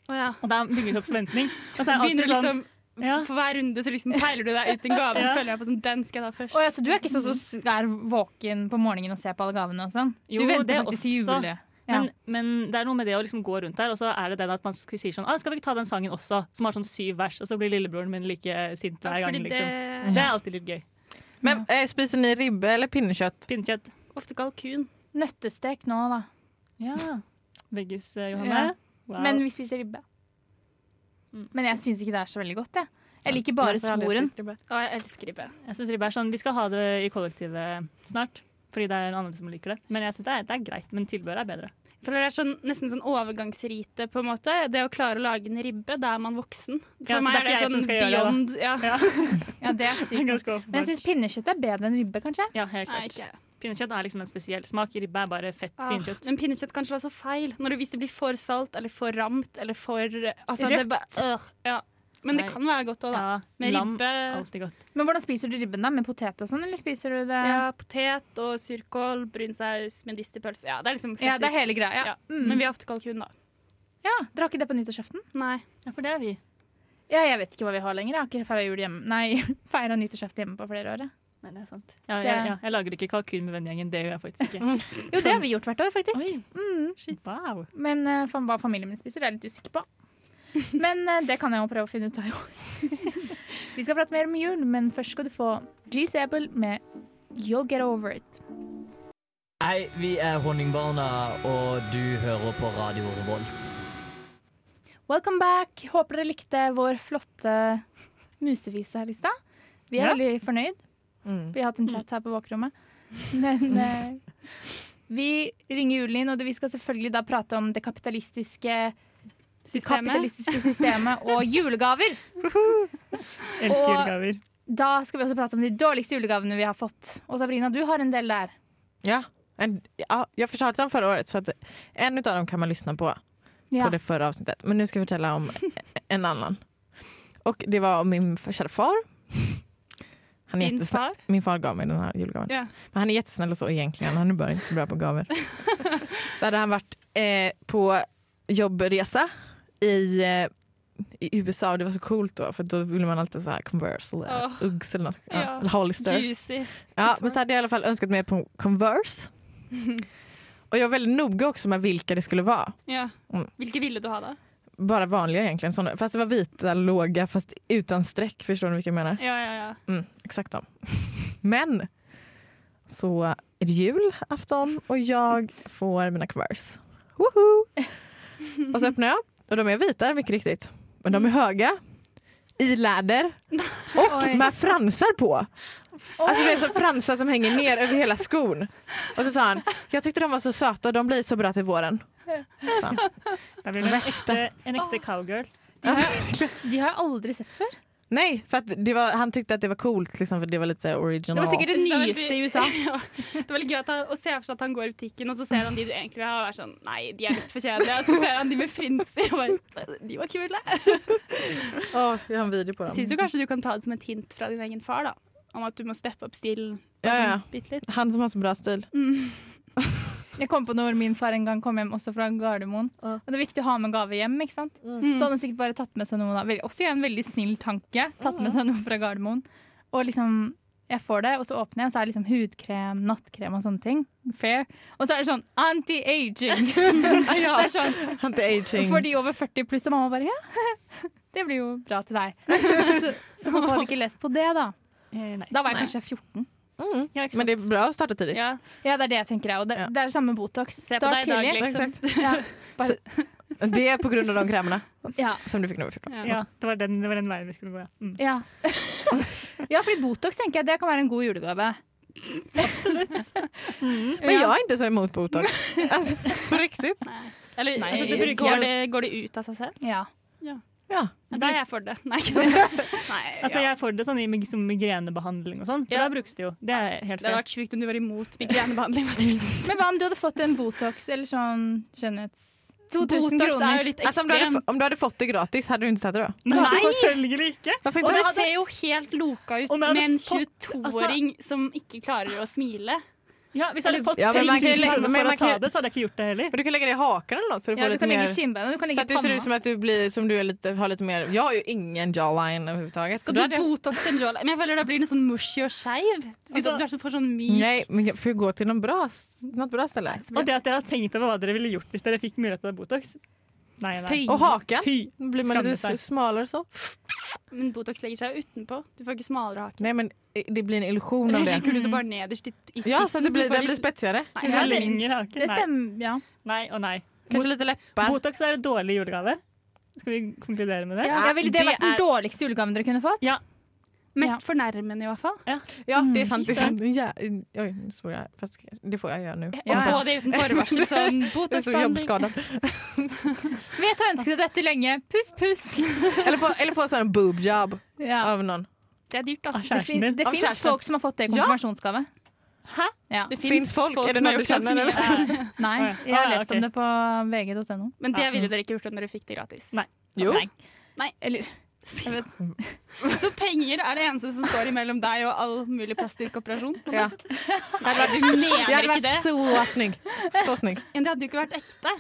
[SPEAKER 7] Å ja.
[SPEAKER 2] Og da bygger det opp forventning. Og så er det
[SPEAKER 7] Begynner
[SPEAKER 2] alltid sånn
[SPEAKER 7] liksom
[SPEAKER 2] ja,
[SPEAKER 7] For hver runde så liksom peiler du deg ut en gave.
[SPEAKER 2] Ja.
[SPEAKER 7] Så føler jeg på sånn, Den skal jeg ta først.
[SPEAKER 1] Å ja, så du er ikke sånn som s- er våken på morgenen og ser på alle gavene og sånn? Du
[SPEAKER 2] Jo, det
[SPEAKER 1] venter faktisk til
[SPEAKER 2] også.
[SPEAKER 1] jule. Ja.
[SPEAKER 2] men, men det er noe med det å liksom gå rundt der, og så er det den at man sk- sier sånn ah, 'Skal vi ikke ta den sangen også?' Som har sånn syv vers, og så blir lillebroren min like sint
[SPEAKER 7] Ja,
[SPEAKER 2] hver gang.
[SPEAKER 7] fordi
[SPEAKER 2] Liksom.
[SPEAKER 7] det
[SPEAKER 2] Det er alltid litt gøy.
[SPEAKER 3] Men eh, spiser ni ribbe eller pinnekjøtt?
[SPEAKER 2] Pinnekjøtt.
[SPEAKER 7] er ofte kalkun.
[SPEAKER 1] Nøttestek nå, da.
[SPEAKER 2] Ja. Veggis, eh,
[SPEAKER 1] Ja.
[SPEAKER 2] Johanne. Wow.
[SPEAKER 1] Men vi spiser ribbe.
[SPEAKER 2] Mm.
[SPEAKER 1] Men jeg syns ikke det er så veldig godt, jeg. Jeg liker bare
[SPEAKER 3] Jeg har aldri
[SPEAKER 1] svoren.
[SPEAKER 3] spist ribbe.
[SPEAKER 7] Å, jeg elsker ribbe.
[SPEAKER 2] Jeg synes ribbe er sånn, Vi skal ha det i kollektivet snart, fordi det er andre som liker det. Men jeg synes det, er, det er greit, men tilbehøret er bedre.
[SPEAKER 7] Jeg føler det er sånn, nesten sånn overgangsrite, på en måte. Det å klare å lage en ribbe, da er man voksen. For
[SPEAKER 2] Ja, så
[SPEAKER 7] meg
[SPEAKER 2] det er
[SPEAKER 7] er det
[SPEAKER 2] ikke jeg som
[SPEAKER 7] sånn
[SPEAKER 2] skal gjøre det, da.
[SPEAKER 7] beyond ja.
[SPEAKER 2] Ja,
[SPEAKER 1] Ja, det er
[SPEAKER 2] det [laughs] er
[SPEAKER 1] sykt.
[SPEAKER 2] ganske
[SPEAKER 1] Men jeg
[SPEAKER 2] åpenbart.
[SPEAKER 1] syns pinnekjøtt er bedre enn ribbe, kanskje.
[SPEAKER 2] Ja, helt
[SPEAKER 7] Nei,
[SPEAKER 2] klart.
[SPEAKER 7] ikke jeg.
[SPEAKER 2] Pinnekjøtt er liksom en spesiell smak. Ribbe er bare fett
[SPEAKER 7] Ah,
[SPEAKER 2] svinkjøtt.
[SPEAKER 7] Men pinnekjøtt kan slå så feil. Når det, hvis det blir for salt eller for ramt eller for altså, det
[SPEAKER 1] Røkt.
[SPEAKER 7] bare- øh, ja. Men det
[SPEAKER 2] Nei.
[SPEAKER 7] kan være godt òg, da.
[SPEAKER 2] Ja,
[SPEAKER 7] Med
[SPEAKER 2] lam
[SPEAKER 7] ribbe,
[SPEAKER 2] alltid godt.
[SPEAKER 1] Men hvordan spiser du ribben, da? Med potet og sånn, eller spiser du det
[SPEAKER 7] ja, potet og surkål, brun saus, medisterpølse. Ja, det er liksom
[SPEAKER 1] Ja, det er hele greia. Ja.
[SPEAKER 7] Ja, Men
[SPEAKER 1] Mm.
[SPEAKER 7] vi har ofte kalkun, da.
[SPEAKER 1] ja, Dere har ikke det på nyttårsaften?
[SPEAKER 7] Nei.
[SPEAKER 2] Ja, for det er vi.
[SPEAKER 1] Ja, jeg vet ikke hva vi har lenger. Jeg har ikke feira jul hjemme Nei, [laughs] feira nyttårsaften hjemme på flere år. jeg.
[SPEAKER 2] Nei, det er sant. Ja,
[SPEAKER 1] Så-
[SPEAKER 2] jeg, ja, jeg lager ikke kalkun med vennegjengen. Det gjør jeg [laughs] faktisk ikke.
[SPEAKER 1] Jo, det har vi gjort hvert år, faktisk.
[SPEAKER 2] Oi,
[SPEAKER 1] Mm.
[SPEAKER 2] shit. Mm. Wow.
[SPEAKER 1] Men eh, fam- hva familien min spiser, det er jeg litt usikker på. [laughs] Men eh, det kan jeg jo prøve å finne ut av, jo. [laughs] Vi skal prate mer om jul, men først skal du få Geese Apple med You'll Get Over It.
[SPEAKER 9] Hei, vi er Honningbarna, og du hører på Radio Revolt.
[SPEAKER 1] Welcome back. Håper dere likte vår flotte musefise her i stad. Vi er
[SPEAKER 2] Ja.
[SPEAKER 1] veldig fornøyd.
[SPEAKER 3] Mm.
[SPEAKER 1] Vi har hatt en chat her på bakrommet. Men eh, vi ringer julen inn, og vi skal selvfølgelig da prate om det kapitalistiske
[SPEAKER 7] Systemet.
[SPEAKER 1] kapitalistiske systemet og julegaver.
[SPEAKER 2] Elsker
[SPEAKER 1] Og-
[SPEAKER 2] julegaver.
[SPEAKER 1] Da skal vi også prate om de dårligste julegavene vi har fått. Og Sabrina, du har en del der.
[SPEAKER 3] Ja. En, ja, jag försökte den förra året så att en av dem kan man lyssna på på det förra avsnittet. Men nu ska jag fortälla om en annan. Och det var om min f- kära far. Han är
[SPEAKER 7] Din
[SPEAKER 3] jättesnäll.
[SPEAKER 7] far?
[SPEAKER 3] Min far gav mig den här julgaven.
[SPEAKER 7] Ja.
[SPEAKER 3] Men han är jättesnäll och så egentligen. Han är bara inte så bra på
[SPEAKER 7] [laughs]
[SPEAKER 3] gaver. så hade han varit eh, på jobbresa i, eh, i USA och det var så coolt då för då ville man alltid så här Converse eller
[SPEAKER 7] Åh.
[SPEAKER 3] Uggs eller något. Ja.
[SPEAKER 7] Ja.
[SPEAKER 3] Eller Hollister.
[SPEAKER 7] Juicy.
[SPEAKER 3] Ja,
[SPEAKER 7] Lite
[SPEAKER 3] men så hade jag i alla fall önskat mig på Converse. Och jag var väldigt noga också med vilka det skulle vara.
[SPEAKER 7] Ja.
[SPEAKER 3] Mm.
[SPEAKER 7] Hvilke ville du ha, da?
[SPEAKER 3] Bara vanliga egentligen. Såna. Fast det var vita, låga, fast utan streck. Förstår ni vilka jag menar?
[SPEAKER 7] Ja, ja, ja.
[SPEAKER 3] Mm, exakt de. [laughs] Men så är det julafton och jag får mina Converse. Woho! Och så öppnar jag och de är vita, mycket riktigt. Men de är höga, i läder
[SPEAKER 1] [laughs]
[SPEAKER 3] och
[SPEAKER 1] Mm. Oj.
[SPEAKER 3] med fransar på. Alltså det är så fransar som hänger ner över hela skon. Och så sa han, jag tyckte de var så söta och de blir så bra till våren.
[SPEAKER 2] Da blir det en
[SPEAKER 3] Verste.
[SPEAKER 2] ekte, en ekte cowgirl.
[SPEAKER 1] De har jeg aldri sett før.
[SPEAKER 3] Nej, för att det var, han tyckte att det var coolt liksom, för det var lite så här original.
[SPEAKER 1] Det var sikkert det
[SPEAKER 7] Det er veldig-
[SPEAKER 1] nyeste i USA.
[SPEAKER 7] ja. Det er veldig gøy at han, å se for seg at han går i butikken, og så ser han de du egentlig vil ha, og er sånn Nei, de er litt for kjedelige. Og så ser han de med frinser, og bare De var kule.
[SPEAKER 3] Åh, jag har en video på dem.
[SPEAKER 7] Jeg syns jo kanskje du kan ta det som et hint fra din egen far, da. Om at du må steppe opp stilen. sånn
[SPEAKER 3] Ja, ja.
[SPEAKER 7] Bitte litt.
[SPEAKER 3] Han som har så bra stil.
[SPEAKER 1] Mm.
[SPEAKER 3] [laughs]
[SPEAKER 1] Jeg kom på når min far en gang kom hjem også fra Gardermoen.
[SPEAKER 3] Ja. Mm.
[SPEAKER 1] Og det er viktig å ha med gave hjem. ikke sant?
[SPEAKER 7] Mm.
[SPEAKER 1] Så hadde han sikkert bare tatt med seg noe. da. Vel- Også en veldig snill tanke. Tatt
[SPEAKER 3] Mm.
[SPEAKER 1] med seg noe fra Gardermoen. Og liksom, jeg får det, og så åpner jeg, og så er det liksom hudkrem, nattkrem og sånne ting. Fair. Og så er det sånn anti-aging!
[SPEAKER 3] [laughs]
[SPEAKER 1] Det er sånn,
[SPEAKER 3] Anti-aging.
[SPEAKER 1] For de over 40 pluss, og mamma bare ja, [laughs] det blir jo bra til
[SPEAKER 3] [laughs]
[SPEAKER 1] deg. Så, så pappa hadde ikke lest på det, da.
[SPEAKER 2] Eh, nei.
[SPEAKER 1] Da var jeg kanskje 14.
[SPEAKER 3] Mm.
[SPEAKER 2] Ja, ikke sant?
[SPEAKER 3] Men det er bra å starte tidlig.
[SPEAKER 7] Ja.
[SPEAKER 1] Ja, det er det jeg tenker jeg. Og det,
[SPEAKER 3] Ja.
[SPEAKER 1] det er det samme med Botox.
[SPEAKER 7] Se på deg i dag, liksom.
[SPEAKER 1] Ja, bare,
[SPEAKER 3] Det er på grunn av de kremene
[SPEAKER 1] ja,
[SPEAKER 3] som du fikk når du var 14.
[SPEAKER 7] Ja.
[SPEAKER 2] Ja, det var, den, det var den veien vi skulle gå. Ja. Mm.
[SPEAKER 1] ja. ja, fordi Botox tenker jeg det kan være en god julegave. [laughs] Absolutt.
[SPEAKER 3] Men jeg er ikke så imot Botox. [laughs] Altså, på riktig.
[SPEAKER 7] Nei. Eller
[SPEAKER 1] Nei,
[SPEAKER 7] altså, det
[SPEAKER 1] jeg-
[SPEAKER 7] går, det, går det ut av seg selv?
[SPEAKER 1] Ja.
[SPEAKER 3] Ja.
[SPEAKER 7] Ja, da er jeg for det. Nei, ikke
[SPEAKER 2] [laughs]
[SPEAKER 7] det. Nei
[SPEAKER 2] Altså,
[SPEAKER 7] ja.
[SPEAKER 2] jeg får det sånn i mig- som migrenebehandling og sånn, for
[SPEAKER 7] Ja.
[SPEAKER 2] da brukes det jo. Det er helt
[SPEAKER 7] Det hadde
[SPEAKER 2] fair.
[SPEAKER 7] vært sjukt om du var imot migrenebehandling.
[SPEAKER 2] [laughs]
[SPEAKER 7] Mathilde.
[SPEAKER 1] Men hva om du hadde fått en Botox eller sånn skjønnhets... 2000
[SPEAKER 7] Botox er jo
[SPEAKER 1] kroner.
[SPEAKER 7] litt
[SPEAKER 3] Alltså, Altså, om, du hadde,
[SPEAKER 7] ekstremt.
[SPEAKER 3] om du hadde fått det gratis, hadde du ikke tatt det da?
[SPEAKER 2] Nei, selvfølgelig ikke!
[SPEAKER 3] Varför
[SPEAKER 7] Og
[SPEAKER 3] inte?
[SPEAKER 7] det ser jo helt loka ut
[SPEAKER 2] Om jeg hadde
[SPEAKER 7] med en
[SPEAKER 2] fått-
[SPEAKER 7] 22-åring som ikke klarer å smile.
[SPEAKER 2] Ja, hvis jeg hadde fått
[SPEAKER 3] Ja, men man kan jo
[SPEAKER 2] 3000
[SPEAKER 3] legge-
[SPEAKER 2] kroner for
[SPEAKER 3] men man
[SPEAKER 2] å ta
[SPEAKER 3] kan-
[SPEAKER 2] det, så hadde jeg ikke gjort det heller.
[SPEAKER 3] Men du kan lägga det i hakan eller något så du får
[SPEAKER 1] Ja, du
[SPEAKER 3] lite
[SPEAKER 1] kan
[SPEAKER 3] mer
[SPEAKER 1] legge kinnbeina, du kan
[SPEAKER 3] så
[SPEAKER 1] legge
[SPEAKER 3] att det ser ut som
[SPEAKER 1] panna.
[SPEAKER 3] att du blir som du är lite, har lite mer Jag har ju ingen jawline överhuvudtaget. så
[SPEAKER 7] Skal
[SPEAKER 3] då
[SPEAKER 7] du
[SPEAKER 3] hade jag-
[SPEAKER 7] botox en jawline? Men jeg føler da blir den sånn mushy og skeiv. Hvis
[SPEAKER 2] Altså-
[SPEAKER 7] du er så får sånn myk
[SPEAKER 3] Nej, men jag får ju gå till någon bra, något bra ställe.
[SPEAKER 2] Og det at dere har tenkt over hva dere ville gjort hvis dere fikk mulighet til botox. Nei, nei.
[SPEAKER 7] føy.
[SPEAKER 3] Och hakan,
[SPEAKER 2] Fy.
[SPEAKER 3] Då blir man lite
[SPEAKER 2] Skamligt där.
[SPEAKER 3] s- smalare så.
[SPEAKER 7] Men botox legger seg jo utenpå. Du får ikke smalere hake.
[SPEAKER 3] Nej men eh, det blir en illusion av
[SPEAKER 7] Eller
[SPEAKER 3] det.
[SPEAKER 7] legger du det bare nederst i, i spissen?
[SPEAKER 3] Ja, så det blir,
[SPEAKER 7] får
[SPEAKER 3] det
[SPEAKER 7] du-
[SPEAKER 3] blir spetsigare.
[SPEAKER 7] Nei,
[SPEAKER 1] Ja, det-
[SPEAKER 2] Lengre hake.
[SPEAKER 1] Det
[SPEAKER 2] Nei.
[SPEAKER 1] stemmer, ja.
[SPEAKER 2] nei og nei.
[SPEAKER 3] Kanske lite läppar.
[SPEAKER 2] Botox er en dårlig julegave. Skal vi konkludere med det?
[SPEAKER 1] ja jeg ville det
[SPEAKER 3] det
[SPEAKER 1] vært den
[SPEAKER 3] er-
[SPEAKER 1] dårligste julegaven dere kunne fått.
[SPEAKER 2] Ja.
[SPEAKER 7] Mest fornærmende, i hvert fall.
[SPEAKER 3] Ja, det är sant. Det är sant. Ja, oj, nu svor jag. Fast det får jag göra nu.
[SPEAKER 7] Å
[SPEAKER 1] Ja, ja.
[SPEAKER 7] få det uten
[SPEAKER 3] [laughs]
[SPEAKER 7] forvarsel. Sånn
[SPEAKER 3] Jag är så
[SPEAKER 7] botoxbehandling.
[SPEAKER 3] jobbskadad.
[SPEAKER 1] Vet du har ønsket deg dette lenge. Puss, puss.
[SPEAKER 3] Eller få, eller få sån en sånn boob job
[SPEAKER 1] Ja.
[SPEAKER 3] av någon.
[SPEAKER 7] Det er dyrt, da.
[SPEAKER 2] Av
[SPEAKER 1] Det,
[SPEAKER 2] kjæresten
[SPEAKER 1] fin
[SPEAKER 2] min.
[SPEAKER 1] det
[SPEAKER 3] Av
[SPEAKER 1] fins
[SPEAKER 3] kjæresten.
[SPEAKER 1] folk som har fått det i
[SPEAKER 3] Ja.
[SPEAKER 1] konfirmasjonsgave.
[SPEAKER 2] Hæ?
[SPEAKER 1] Ja.
[SPEAKER 7] Det
[SPEAKER 3] Fins folk? Er det
[SPEAKER 7] som
[SPEAKER 3] noe
[SPEAKER 7] har
[SPEAKER 3] du
[SPEAKER 7] gjort som
[SPEAKER 3] kjenner,
[SPEAKER 7] jeg-
[SPEAKER 1] Nei,
[SPEAKER 2] Å, ja.
[SPEAKER 1] jeg har
[SPEAKER 2] Å, ja,
[SPEAKER 1] lest
[SPEAKER 2] ok.
[SPEAKER 1] om det på vg.no.
[SPEAKER 7] Men det
[SPEAKER 2] Ja.
[SPEAKER 7] ville dere ikke gjort om dere fikk det gratis.
[SPEAKER 2] Nei.
[SPEAKER 3] Jo.
[SPEAKER 1] Nei.
[SPEAKER 7] Nei.
[SPEAKER 1] Eller jeg vet,
[SPEAKER 7] Så penger er det eneste som står imellom deg og all mulig plastisk operasjon?
[SPEAKER 3] Ja. Jag hade varit,
[SPEAKER 7] Du
[SPEAKER 3] jag hade
[SPEAKER 7] mener ikke
[SPEAKER 3] varit
[SPEAKER 7] det?
[SPEAKER 3] så snygg. Så snygg.
[SPEAKER 7] Men det hadde jo ikke vært ekte.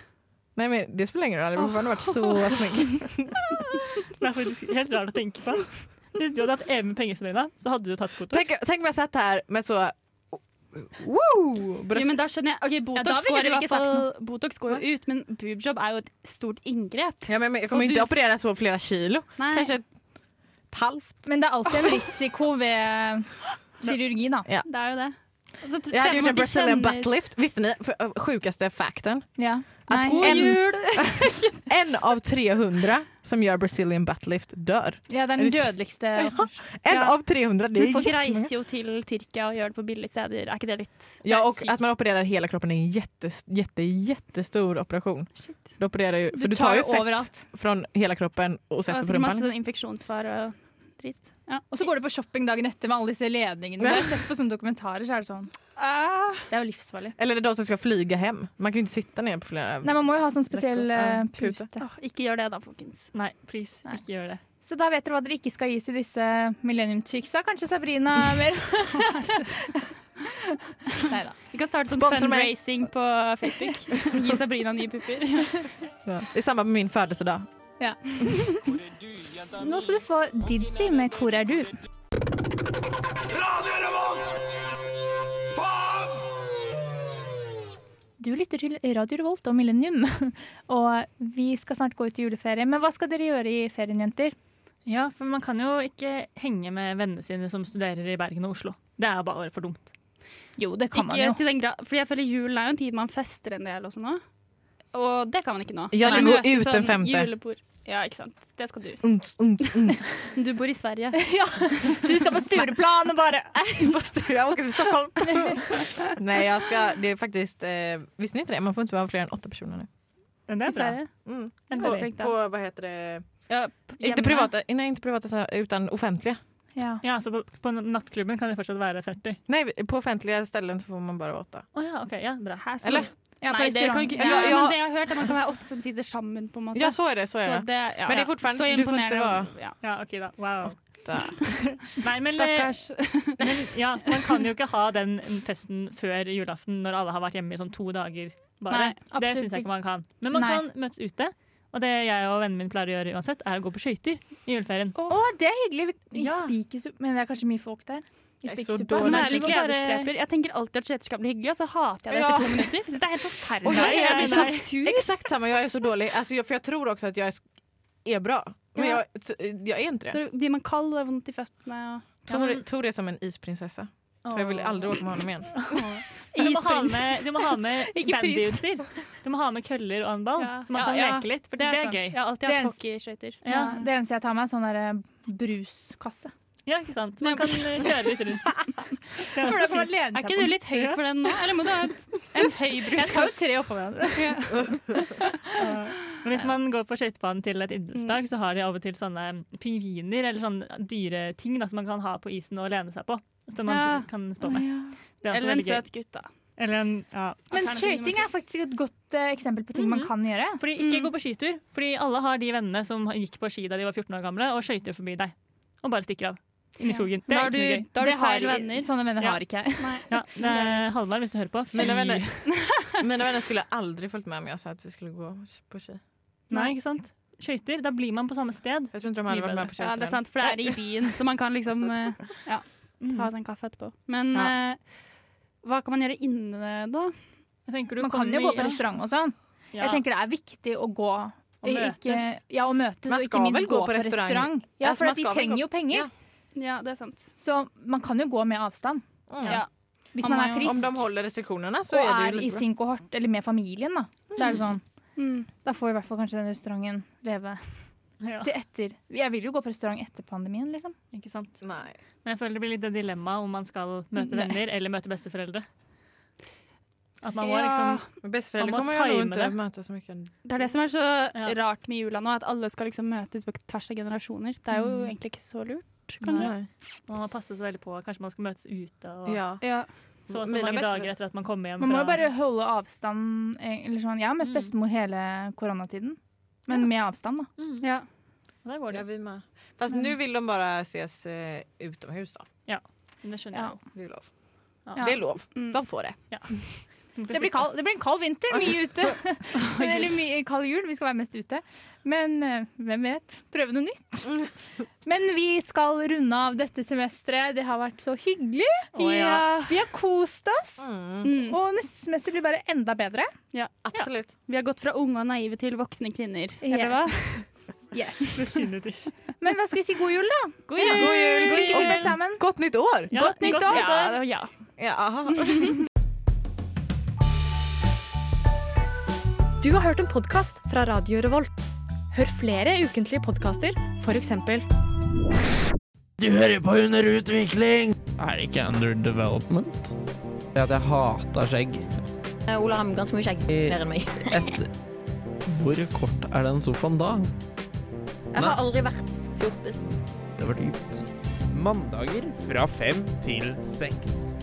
[SPEAKER 3] Nej men det spelar ingen roll, jag hade fortfarande varit så snygg.
[SPEAKER 2] Det er faktisk helt rart å tenke på. Hvis du hadde hatt evig med penger i øynene, så hadde du tatt foto.
[SPEAKER 3] Tänk, tänk om jag satt här med så... Wow!
[SPEAKER 7] Jo,
[SPEAKER 3] Bröst.
[SPEAKER 7] men da skjønner jeg. Ok, Botox,
[SPEAKER 1] da ville
[SPEAKER 7] går i
[SPEAKER 1] dere
[SPEAKER 7] hvert
[SPEAKER 1] ikke
[SPEAKER 7] fall, botox går jo ut, men boobjob er jo et stort inngrep.
[SPEAKER 3] Ja, men, men jag kommer
[SPEAKER 7] Och
[SPEAKER 3] ju inte
[SPEAKER 7] du-
[SPEAKER 3] operera så flera kilo.
[SPEAKER 7] Nei.
[SPEAKER 3] Kanske ett, ett halvt.
[SPEAKER 1] men det er alltid en risiko ved kirurgi, da.
[SPEAKER 7] Det er jo det. Altså,
[SPEAKER 3] Jag hade gjort en Brazilian butt
[SPEAKER 7] buttlift.
[SPEAKER 3] lift. Visste ni för, ö, sjukaste fakten?
[SPEAKER 1] Ja.
[SPEAKER 3] Att
[SPEAKER 1] Nei.
[SPEAKER 3] en,
[SPEAKER 7] [laughs]
[SPEAKER 3] en av 300 som gör Brazilian butt lift dör.
[SPEAKER 1] ja, det er den dødeligste.
[SPEAKER 3] En
[SPEAKER 1] Ja.
[SPEAKER 3] av 300, det är
[SPEAKER 7] Folk
[SPEAKER 3] jättemånga.
[SPEAKER 7] reiser jo til Tyrkia og gjør det på billige steder. Er ikke det litt
[SPEAKER 3] Ja,
[SPEAKER 7] det
[SPEAKER 3] och
[SPEAKER 7] er
[SPEAKER 3] att man opererar hela kroppen är en jätte, jätte, jättestor operation.
[SPEAKER 7] Shit.
[SPEAKER 3] Du, opererar ju, för
[SPEAKER 1] Du
[SPEAKER 3] du tar
[SPEAKER 1] tar
[SPEAKER 3] ju
[SPEAKER 1] jo
[SPEAKER 3] fett
[SPEAKER 1] overalt.
[SPEAKER 3] från hela kroppen och sätter
[SPEAKER 7] Og
[SPEAKER 3] på
[SPEAKER 7] så masse
[SPEAKER 3] rumpan.
[SPEAKER 7] sånn infeksjonsfare og dritt. Ja.
[SPEAKER 1] Og så går du på shopping dagen etter med alle disse ledningene. Det har jeg sett på sånne dokumentarer, så er det sånn. Det er jo livsfarlig.
[SPEAKER 3] Eller det är de som ska flyga hem. Man kan ju inte sitta ner på flera...
[SPEAKER 1] Nei, man må jo ha sånn spesiell
[SPEAKER 3] Ja,
[SPEAKER 1] eh,
[SPEAKER 3] pute.
[SPEAKER 1] pute.
[SPEAKER 7] Åh, ikke gjør det da, folkens.
[SPEAKER 2] Nei, please,
[SPEAKER 1] Nei.
[SPEAKER 2] ikke gjør det.
[SPEAKER 1] Så da vet dere hva dere ikke skal gis i disse millennium chicksa. Kanskje Sabrina er mer Nei da.
[SPEAKER 7] Vi kan starte sånn
[SPEAKER 3] Sponsor meg.
[SPEAKER 7] fundraising på Facebook. Gi Sabrina nye pupper.
[SPEAKER 2] [laughs]
[SPEAKER 3] Ja. I samband med min födelsedag.
[SPEAKER 1] Nå skal du få Didzy med 'Hvor er du?'
[SPEAKER 5] Radio Revolt! Faen!
[SPEAKER 1] Du lytter til Radio Revolt og Millennium. [laughs] Og vi skal snart gå ut i juleferie. Men hva skal dere gjøre i ferien, jenter?
[SPEAKER 2] Ja, for man kan jo ikke henge med vennene sine som studerer i Bergen og Oslo. Det er bare for dumt.
[SPEAKER 1] Jo, det kan
[SPEAKER 7] Ikke
[SPEAKER 1] man jo.
[SPEAKER 7] til den grad, fordi jeg føler julen er jo en tid man fester en del også nå. Og det kan man ikke nå.
[SPEAKER 3] Jeg skal
[SPEAKER 7] Nei.
[SPEAKER 3] gå
[SPEAKER 7] Møte
[SPEAKER 3] ut den
[SPEAKER 7] sånn
[SPEAKER 3] femte.
[SPEAKER 7] julebord. Ja, ikke sant. Det skal du.
[SPEAKER 3] Unts, unts, unts.
[SPEAKER 7] Men Du bor i Sverige.
[SPEAKER 1] [laughs] Ja, du skal på Stureplan og bare
[SPEAKER 3] [laughs] Fast jag åker till [laughs] Stockholm. Nej, jag ska... Det är faktiskt... Eh, visste ni inte det? Man får inte vara fler än åtta personer nu.
[SPEAKER 2] Men det
[SPEAKER 7] I
[SPEAKER 2] er bra.
[SPEAKER 7] Sverige.
[SPEAKER 3] Mm.
[SPEAKER 7] En
[SPEAKER 3] På,
[SPEAKER 7] strengt, da.
[SPEAKER 3] på, vad heter det?
[SPEAKER 7] Ja, p- hjemme.
[SPEAKER 3] Inte privata, nej, inte privata så här, utan offentliga.
[SPEAKER 1] Ja.
[SPEAKER 2] Ja, så på, på nattklubben kan det fortsatt være 40.
[SPEAKER 3] Nej, på offentliga ställen så får man bara vara åtta.
[SPEAKER 2] Å ja, ok, ja, bra.
[SPEAKER 7] Hæ, så-
[SPEAKER 3] Eller?
[SPEAKER 1] Ja, på
[SPEAKER 7] Nei, det kan
[SPEAKER 1] restaurant.
[SPEAKER 7] ikke
[SPEAKER 3] Ja,
[SPEAKER 7] ja,
[SPEAKER 3] ja.
[SPEAKER 7] Men det jeg har hørt, er at man kan være åtte som sitter sammen, på en måte.
[SPEAKER 3] Ja, så är det. Så är det.
[SPEAKER 7] ja,
[SPEAKER 3] Men det er
[SPEAKER 7] ja.
[SPEAKER 3] fortfarande-
[SPEAKER 7] Så
[SPEAKER 3] du får ikke
[SPEAKER 7] imponerende. Ja.
[SPEAKER 2] Ja, ok da. Wow.
[SPEAKER 3] Da.
[SPEAKER 2] Nei, men, eh,
[SPEAKER 7] Stakkars.
[SPEAKER 2] men ja, så man kan jo ikke ha den festen før julaften når alle har vært hjemme i sånn to dager bare.
[SPEAKER 7] Nei,
[SPEAKER 2] det
[SPEAKER 1] absolutt
[SPEAKER 2] syns jeg
[SPEAKER 1] ikke.
[SPEAKER 2] ikke man kan. Men man
[SPEAKER 1] Nei.
[SPEAKER 2] kan møtes ute. Og det jeg og vennen min pleier å gjøre uansett, er å gå på skøyter i juleferien.
[SPEAKER 1] Å, det er hyggelig. Vi- I
[SPEAKER 2] Ja.
[SPEAKER 1] Spikersuppa Men det er kanskje mye folk der. I
[SPEAKER 3] Jeg er så
[SPEAKER 1] Spikersuppa.
[SPEAKER 3] dårlig.
[SPEAKER 7] Men
[SPEAKER 2] Nei,
[SPEAKER 7] er litt
[SPEAKER 2] så bare-
[SPEAKER 7] gledestreper. Jeg tenker alltid at skøyter skal bli hyggelig, og så hater jeg det
[SPEAKER 3] Ja.
[SPEAKER 7] etter to minutter. Jeg synes det er helt
[SPEAKER 3] Och
[SPEAKER 7] forferdelig.
[SPEAKER 3] jag, är,
[SPEAKER 7] Jeg blir så
[SPEAKER 3] nej, [laughs]
[SPEAKER 7] sur.
[SPEAKER 3] Exakt samma, jag är så dålig. Alltså, jag, för jag tror också att jag är, är bra. Men
[SPEAKER 7] Ja.
[SPEAKER 3] jag, t- jag är inte det.
[SPEAKER 7] Så blir man kald og har vondt i føttene. Og...
[SPEAKER 2] Ja,
[SPEAKER 3] Tor,
[SPEAKER 2] men-
[SPEAKER 3] Tor är som en isprinsessa. Så jag vill aldrig åka med honom igen.
[SPEAKER 2] Men Du må ha med, [laughs] du må ha med
[SPEAKER 1] Ikke prins.
[SPEAKER 2] bandyutstyr. Du må ha med køller og en ball,
[SPEAKER 7] Ja.
[SPEAKER 2] så man
[SPEAKER 7] Ja,
[SPEAKER 2] kan
[SPEAKER 7] ja.
[SPEAKER 2] leke litt. For det, er
[SPEAKER 7] sant.
[SPEAKER 2] gøy.
[SPEAKER 7] Jeg har alltid
[SPEAKER 1] Det er-
[SPEAKER 7] hatt hockeyskøyter.
[SPEAKER 1] Ja, det eneste jeg tar meg, er sånn der, eh, bruskasse.
[SPEAKER 2] Ja, ikke sant? Man kan eh, kjøre litt rundt.
[SPEAKER 7] [laughs]
[SPEAKER 2] Det er også fint.
[SPEAKER 7] Er ikke du litt høy for den nå? Eller må du ha en høy
[SPEAKER 1] Jeg tar
[SPEAKER 7] [laughs]
[SPEAKER 1] jo tre oppå hverandre.
[SPEAKER 2] Men hvis man går på skøytebanen til et
[SPEAKER 7] Mm.
[SPEAKER 2] idrettslag, så har de av og til sånne mm, pingviner eller sånne dyre ting da, som man kan ha på isen og lene seg på. Som man
[SPEAKER 7] Ja.
[SPEAKER 2] kan stå med. Det er også
[SPEAKER 7] Eller en
[SPEAKER 2] veldig gøy.
[SPEAKER 7] søt gutt, da.
[SPEAKER 2] Eller en, ja.
[SPEAKER 1] Men skøyting er faktisk et godt eh, eksempel på ting man kan gjøre.
[SPEAKER 2] Fordi ikke
[SPEAKER 7] Mm.
[SPEAKER 2] gå på skitur. Fordi alle har de vennene som gikk på ski da de var 14 år gamle, og skøyter forbi deg. Og bare stikker av. inni skogen. Det
[SPEAKER 7] Da
[SPEAKER 2] er
[SPEAKER 7] har
[SPEAKER 2] ikke noe
[SPEAKER 7] du-
[SPEAKER 2] gøy.
[SPEAKER 7] da har du
[SPEAKER 1] Det har-
[SPEAKER 7] feil venner.
[SPEAKER 1] Sånne venner
[SPEAKER 2] Ja.
[SPEAKER 1] har ikke jeg.
[SPEAKER 2] Ja, det er Halvard, hvis du hører på.
[SPEAKER 3] Mina
[SPEAKER 2] fy-
[SPEAKER 3] venner, mina vänner skulle aldrig följt med om jag sa att vi skulle gå på tjej.
[SPEAKER 2] Nei, ikke sant? Skøyter. Da blir man på samme sted.
[SPEAKER 3] Jag tror inte de hade
[SPEAKER 2] Mye
[SPEAKER 3] varit
[SPEAKER 2] bedre.
[SPEAKER 3] med på
[SPEAKER 7] Ja, det er
[SPEAKER 3] tjejträning.
[SPEAKER 7] sant, for det er i byen, så man kan liksom eh, ja, ta seg en kaffe etterpå. Men eh, hva kan man gjøre inne da? Jeg tenker du
[SPEAKER 1] Man kan
[SPEAKER 7] kommer
[SPEAKER 1] jo gå på
[SPEAKER 7] i-
[SPEAKER 1] restaurant og sånn.
[SPEAKER 2] Ja.
[SPEAKER 1] Jeg tenker det er viktig å gå eh,
[SPEAKER 2] Og møtes.
[SPEAKER 1] Ikke, ja, og møtes,
[SPEAKER 3] Man
[SPEAKER 1] og
[SPEAKER 3] skal
[SPEAKER 1] ikke minst
[SPEAKER 3] vel
[SPEAKER 1] gå, på restaurant. Ja,
[SPEAKER 3] Altså,
[SPEAKER 1] for
[SPEAKER 3] man
[SPEAKER 1] at de
[SPEAKER 3] skal vel
[SPEAKER 1] trenger
[SPEAKER 3] gå-
[SPEAKER 1] jo penger.
[SPEAKER 3] Ja.
[SPEAKER 7] Ja, det er sant.
[SPEAKER 1] Så man kan jo gå med avstand.
[SPEAKER 3] Mm.
[SPEAKER 7] Ja.
[SPEAKER 1] Hvis man
[SPEAKER 7] Man må
[SPEAKER 1] er
[SPEAKER 7] jo-
[SPEAKER 1] frisk
[SPEAKER 3] Om de håller restriktionerna så
[SPEAKER 1] og
[SPEAKER 3] är det
[SPEAKER 1] er
[SPEAKER 3] ju
[SPEAKER 1] i
[SPEAKER 3] lite bra.
[SPEAKER 1] sin kohort, eller med familien, da, så er det sånn
[SPEAKER 7] Mm.
[SPEAKER 1] Da får i hvert fall kanskje den restauranten leve
[SPEAKER 2] Ja,
[SPEAKER 1] til etter. Jeg vil jo gå på restaurant etter pandemien, liksom.
[SPEAKER 2] ikke sant?
[SPEAKER 3] Nej.
[SPEAKER 2] Men jeg føler det blir litt det dilemmaet om man skal møte
[SPEAKER 1] Nei.
[SPEAKER 2] venner eller møte besteforeldre. At man må
[SPEAKER 7] Ja,
[SPEAKER 2] liksom
[SPEAKER 3] Men bästföräldrar
[SPEAKER 2] Om man
[SPEAKER 3] kommer jag nog
[SPEAKER 2] tajmar
[SPEAKER 3] inte
[SPEAKER 2] det.
[SPEAKER 3] möta så mycket. ändå.
[SPEAKER 7] det er det som er så
[SPEAKER 2] Ja.
[SPEAKER 7] rart med jula nå, at alle skal liksom møtes på tvers av generasjoner. Det er jo egentlig ikke så lurt.
[SPEAKER 2] kanskje,
[SPEAKER 3] Nej.
[SPEAKER 2] Man må passe så veldig på. Kanskje man skal møtes ute og
[SPEAKER 3] Ja.
[SPEAKER 7] Ja.
[SPEAKER 2] så og så
[SPEAKER 3] Mina
[SPEAKER 2] mange
[SPEAKER 3] beste-
[SPEAKER 2] dager etter at man kommer hjem
[SPEAKER 1] Man må jo
[SPEAKER 2] fra
[SPEAKER 1] bare holde avstand. eh, Eller sånn. Jeg har møtt
[SPEAKER 2] Mm.
[SPEAKER 1] bestemor hele koronatiden, men med avstand, da.
[SPEAKER 2] mm.
[SPEAKER 7] Ja.
[SPEAKER 2] Der går
[SPEAKER 3] Ja,
[SPEAKER 2] det.
[SPEAKER 3] vi med. Fast
[SPEAKER 7] Mm.
[SPEAKER 3] nu vill de bara ses eh, utomhus då.
[SPEAKER 2] Det skjønner
[SPEAKER 1] Ja.
[SPEAKER 2] jeg.
[SPEAKER 3] Det är lov.
[SPEAKER 2] Ja.
[SPEAKER 3] Det är lov.
[SPEAKER 7] Mm.
[SPEAKER 3] De får det.
[SPEAKER 1] Det blir, kald, det blir en kald vinter, mye ute. Eller mye kald jul. Vi skal være mest ute. Men eh, hvem vet? Prøve noe nytt. Men vi skal runde av dette semesteret. Det har vært så hyggelig.
[SPEAKER 2] Å, ja.
[SPEAKER 1] Vi har kost oss.
[SPEAKER 3] Mm.
[SPEAKER 7] Mm.
[SPEAKER 1] Og neste semester blir bare enda bedre.
[SPEAKER 3] Absolut.
[SPEAKER 7] Vi har gått fra unge og naive til voksne kvinner. Eller
[SPEAKER 1] Yes.
[SPEAKER 7] hva?
[SPEAKER 1] Yes.
[SPEAKER 2] Definitivt.
[SPEAKER 1] [laughs] Men hva skal vi si? God jul, da.
[SPEAKER 7] God jul!
[SPEAKER 3] God jul!
[SPEAKER 1] Lykke til med eksamen.
[SPEAKER 3] Gott nytt år!
[SPEAKER 2] Ja,
[SPEAKER 1] Godt nytt år.
[SPEAKER 7] Ja, det var ja.
[SPEAKER 3] Ja, aha.
[SPEAKER 10] Du har hørt en podkast fra Radio Revolt. Hør flere ukentlige podkaster, f.eks.
[SPEAKER 5] Du hører på Underutvikling!
[SPEAKER 11] Er det ikke under development?
[SPEAKER 5] Det at jeg hater skjegg.
[SPEAKER 8] Eh, Ola har ganske mye skjegg. Mer enn meg.
[SPEAKER 11] Et Hvor kort er den sofaen da?
[SPEAKER 8] Jeg har aldri vært fjortis.
[SPEAKER 11] Det var dypt.
[SPEAKER 5] Mandager fra fem til seks.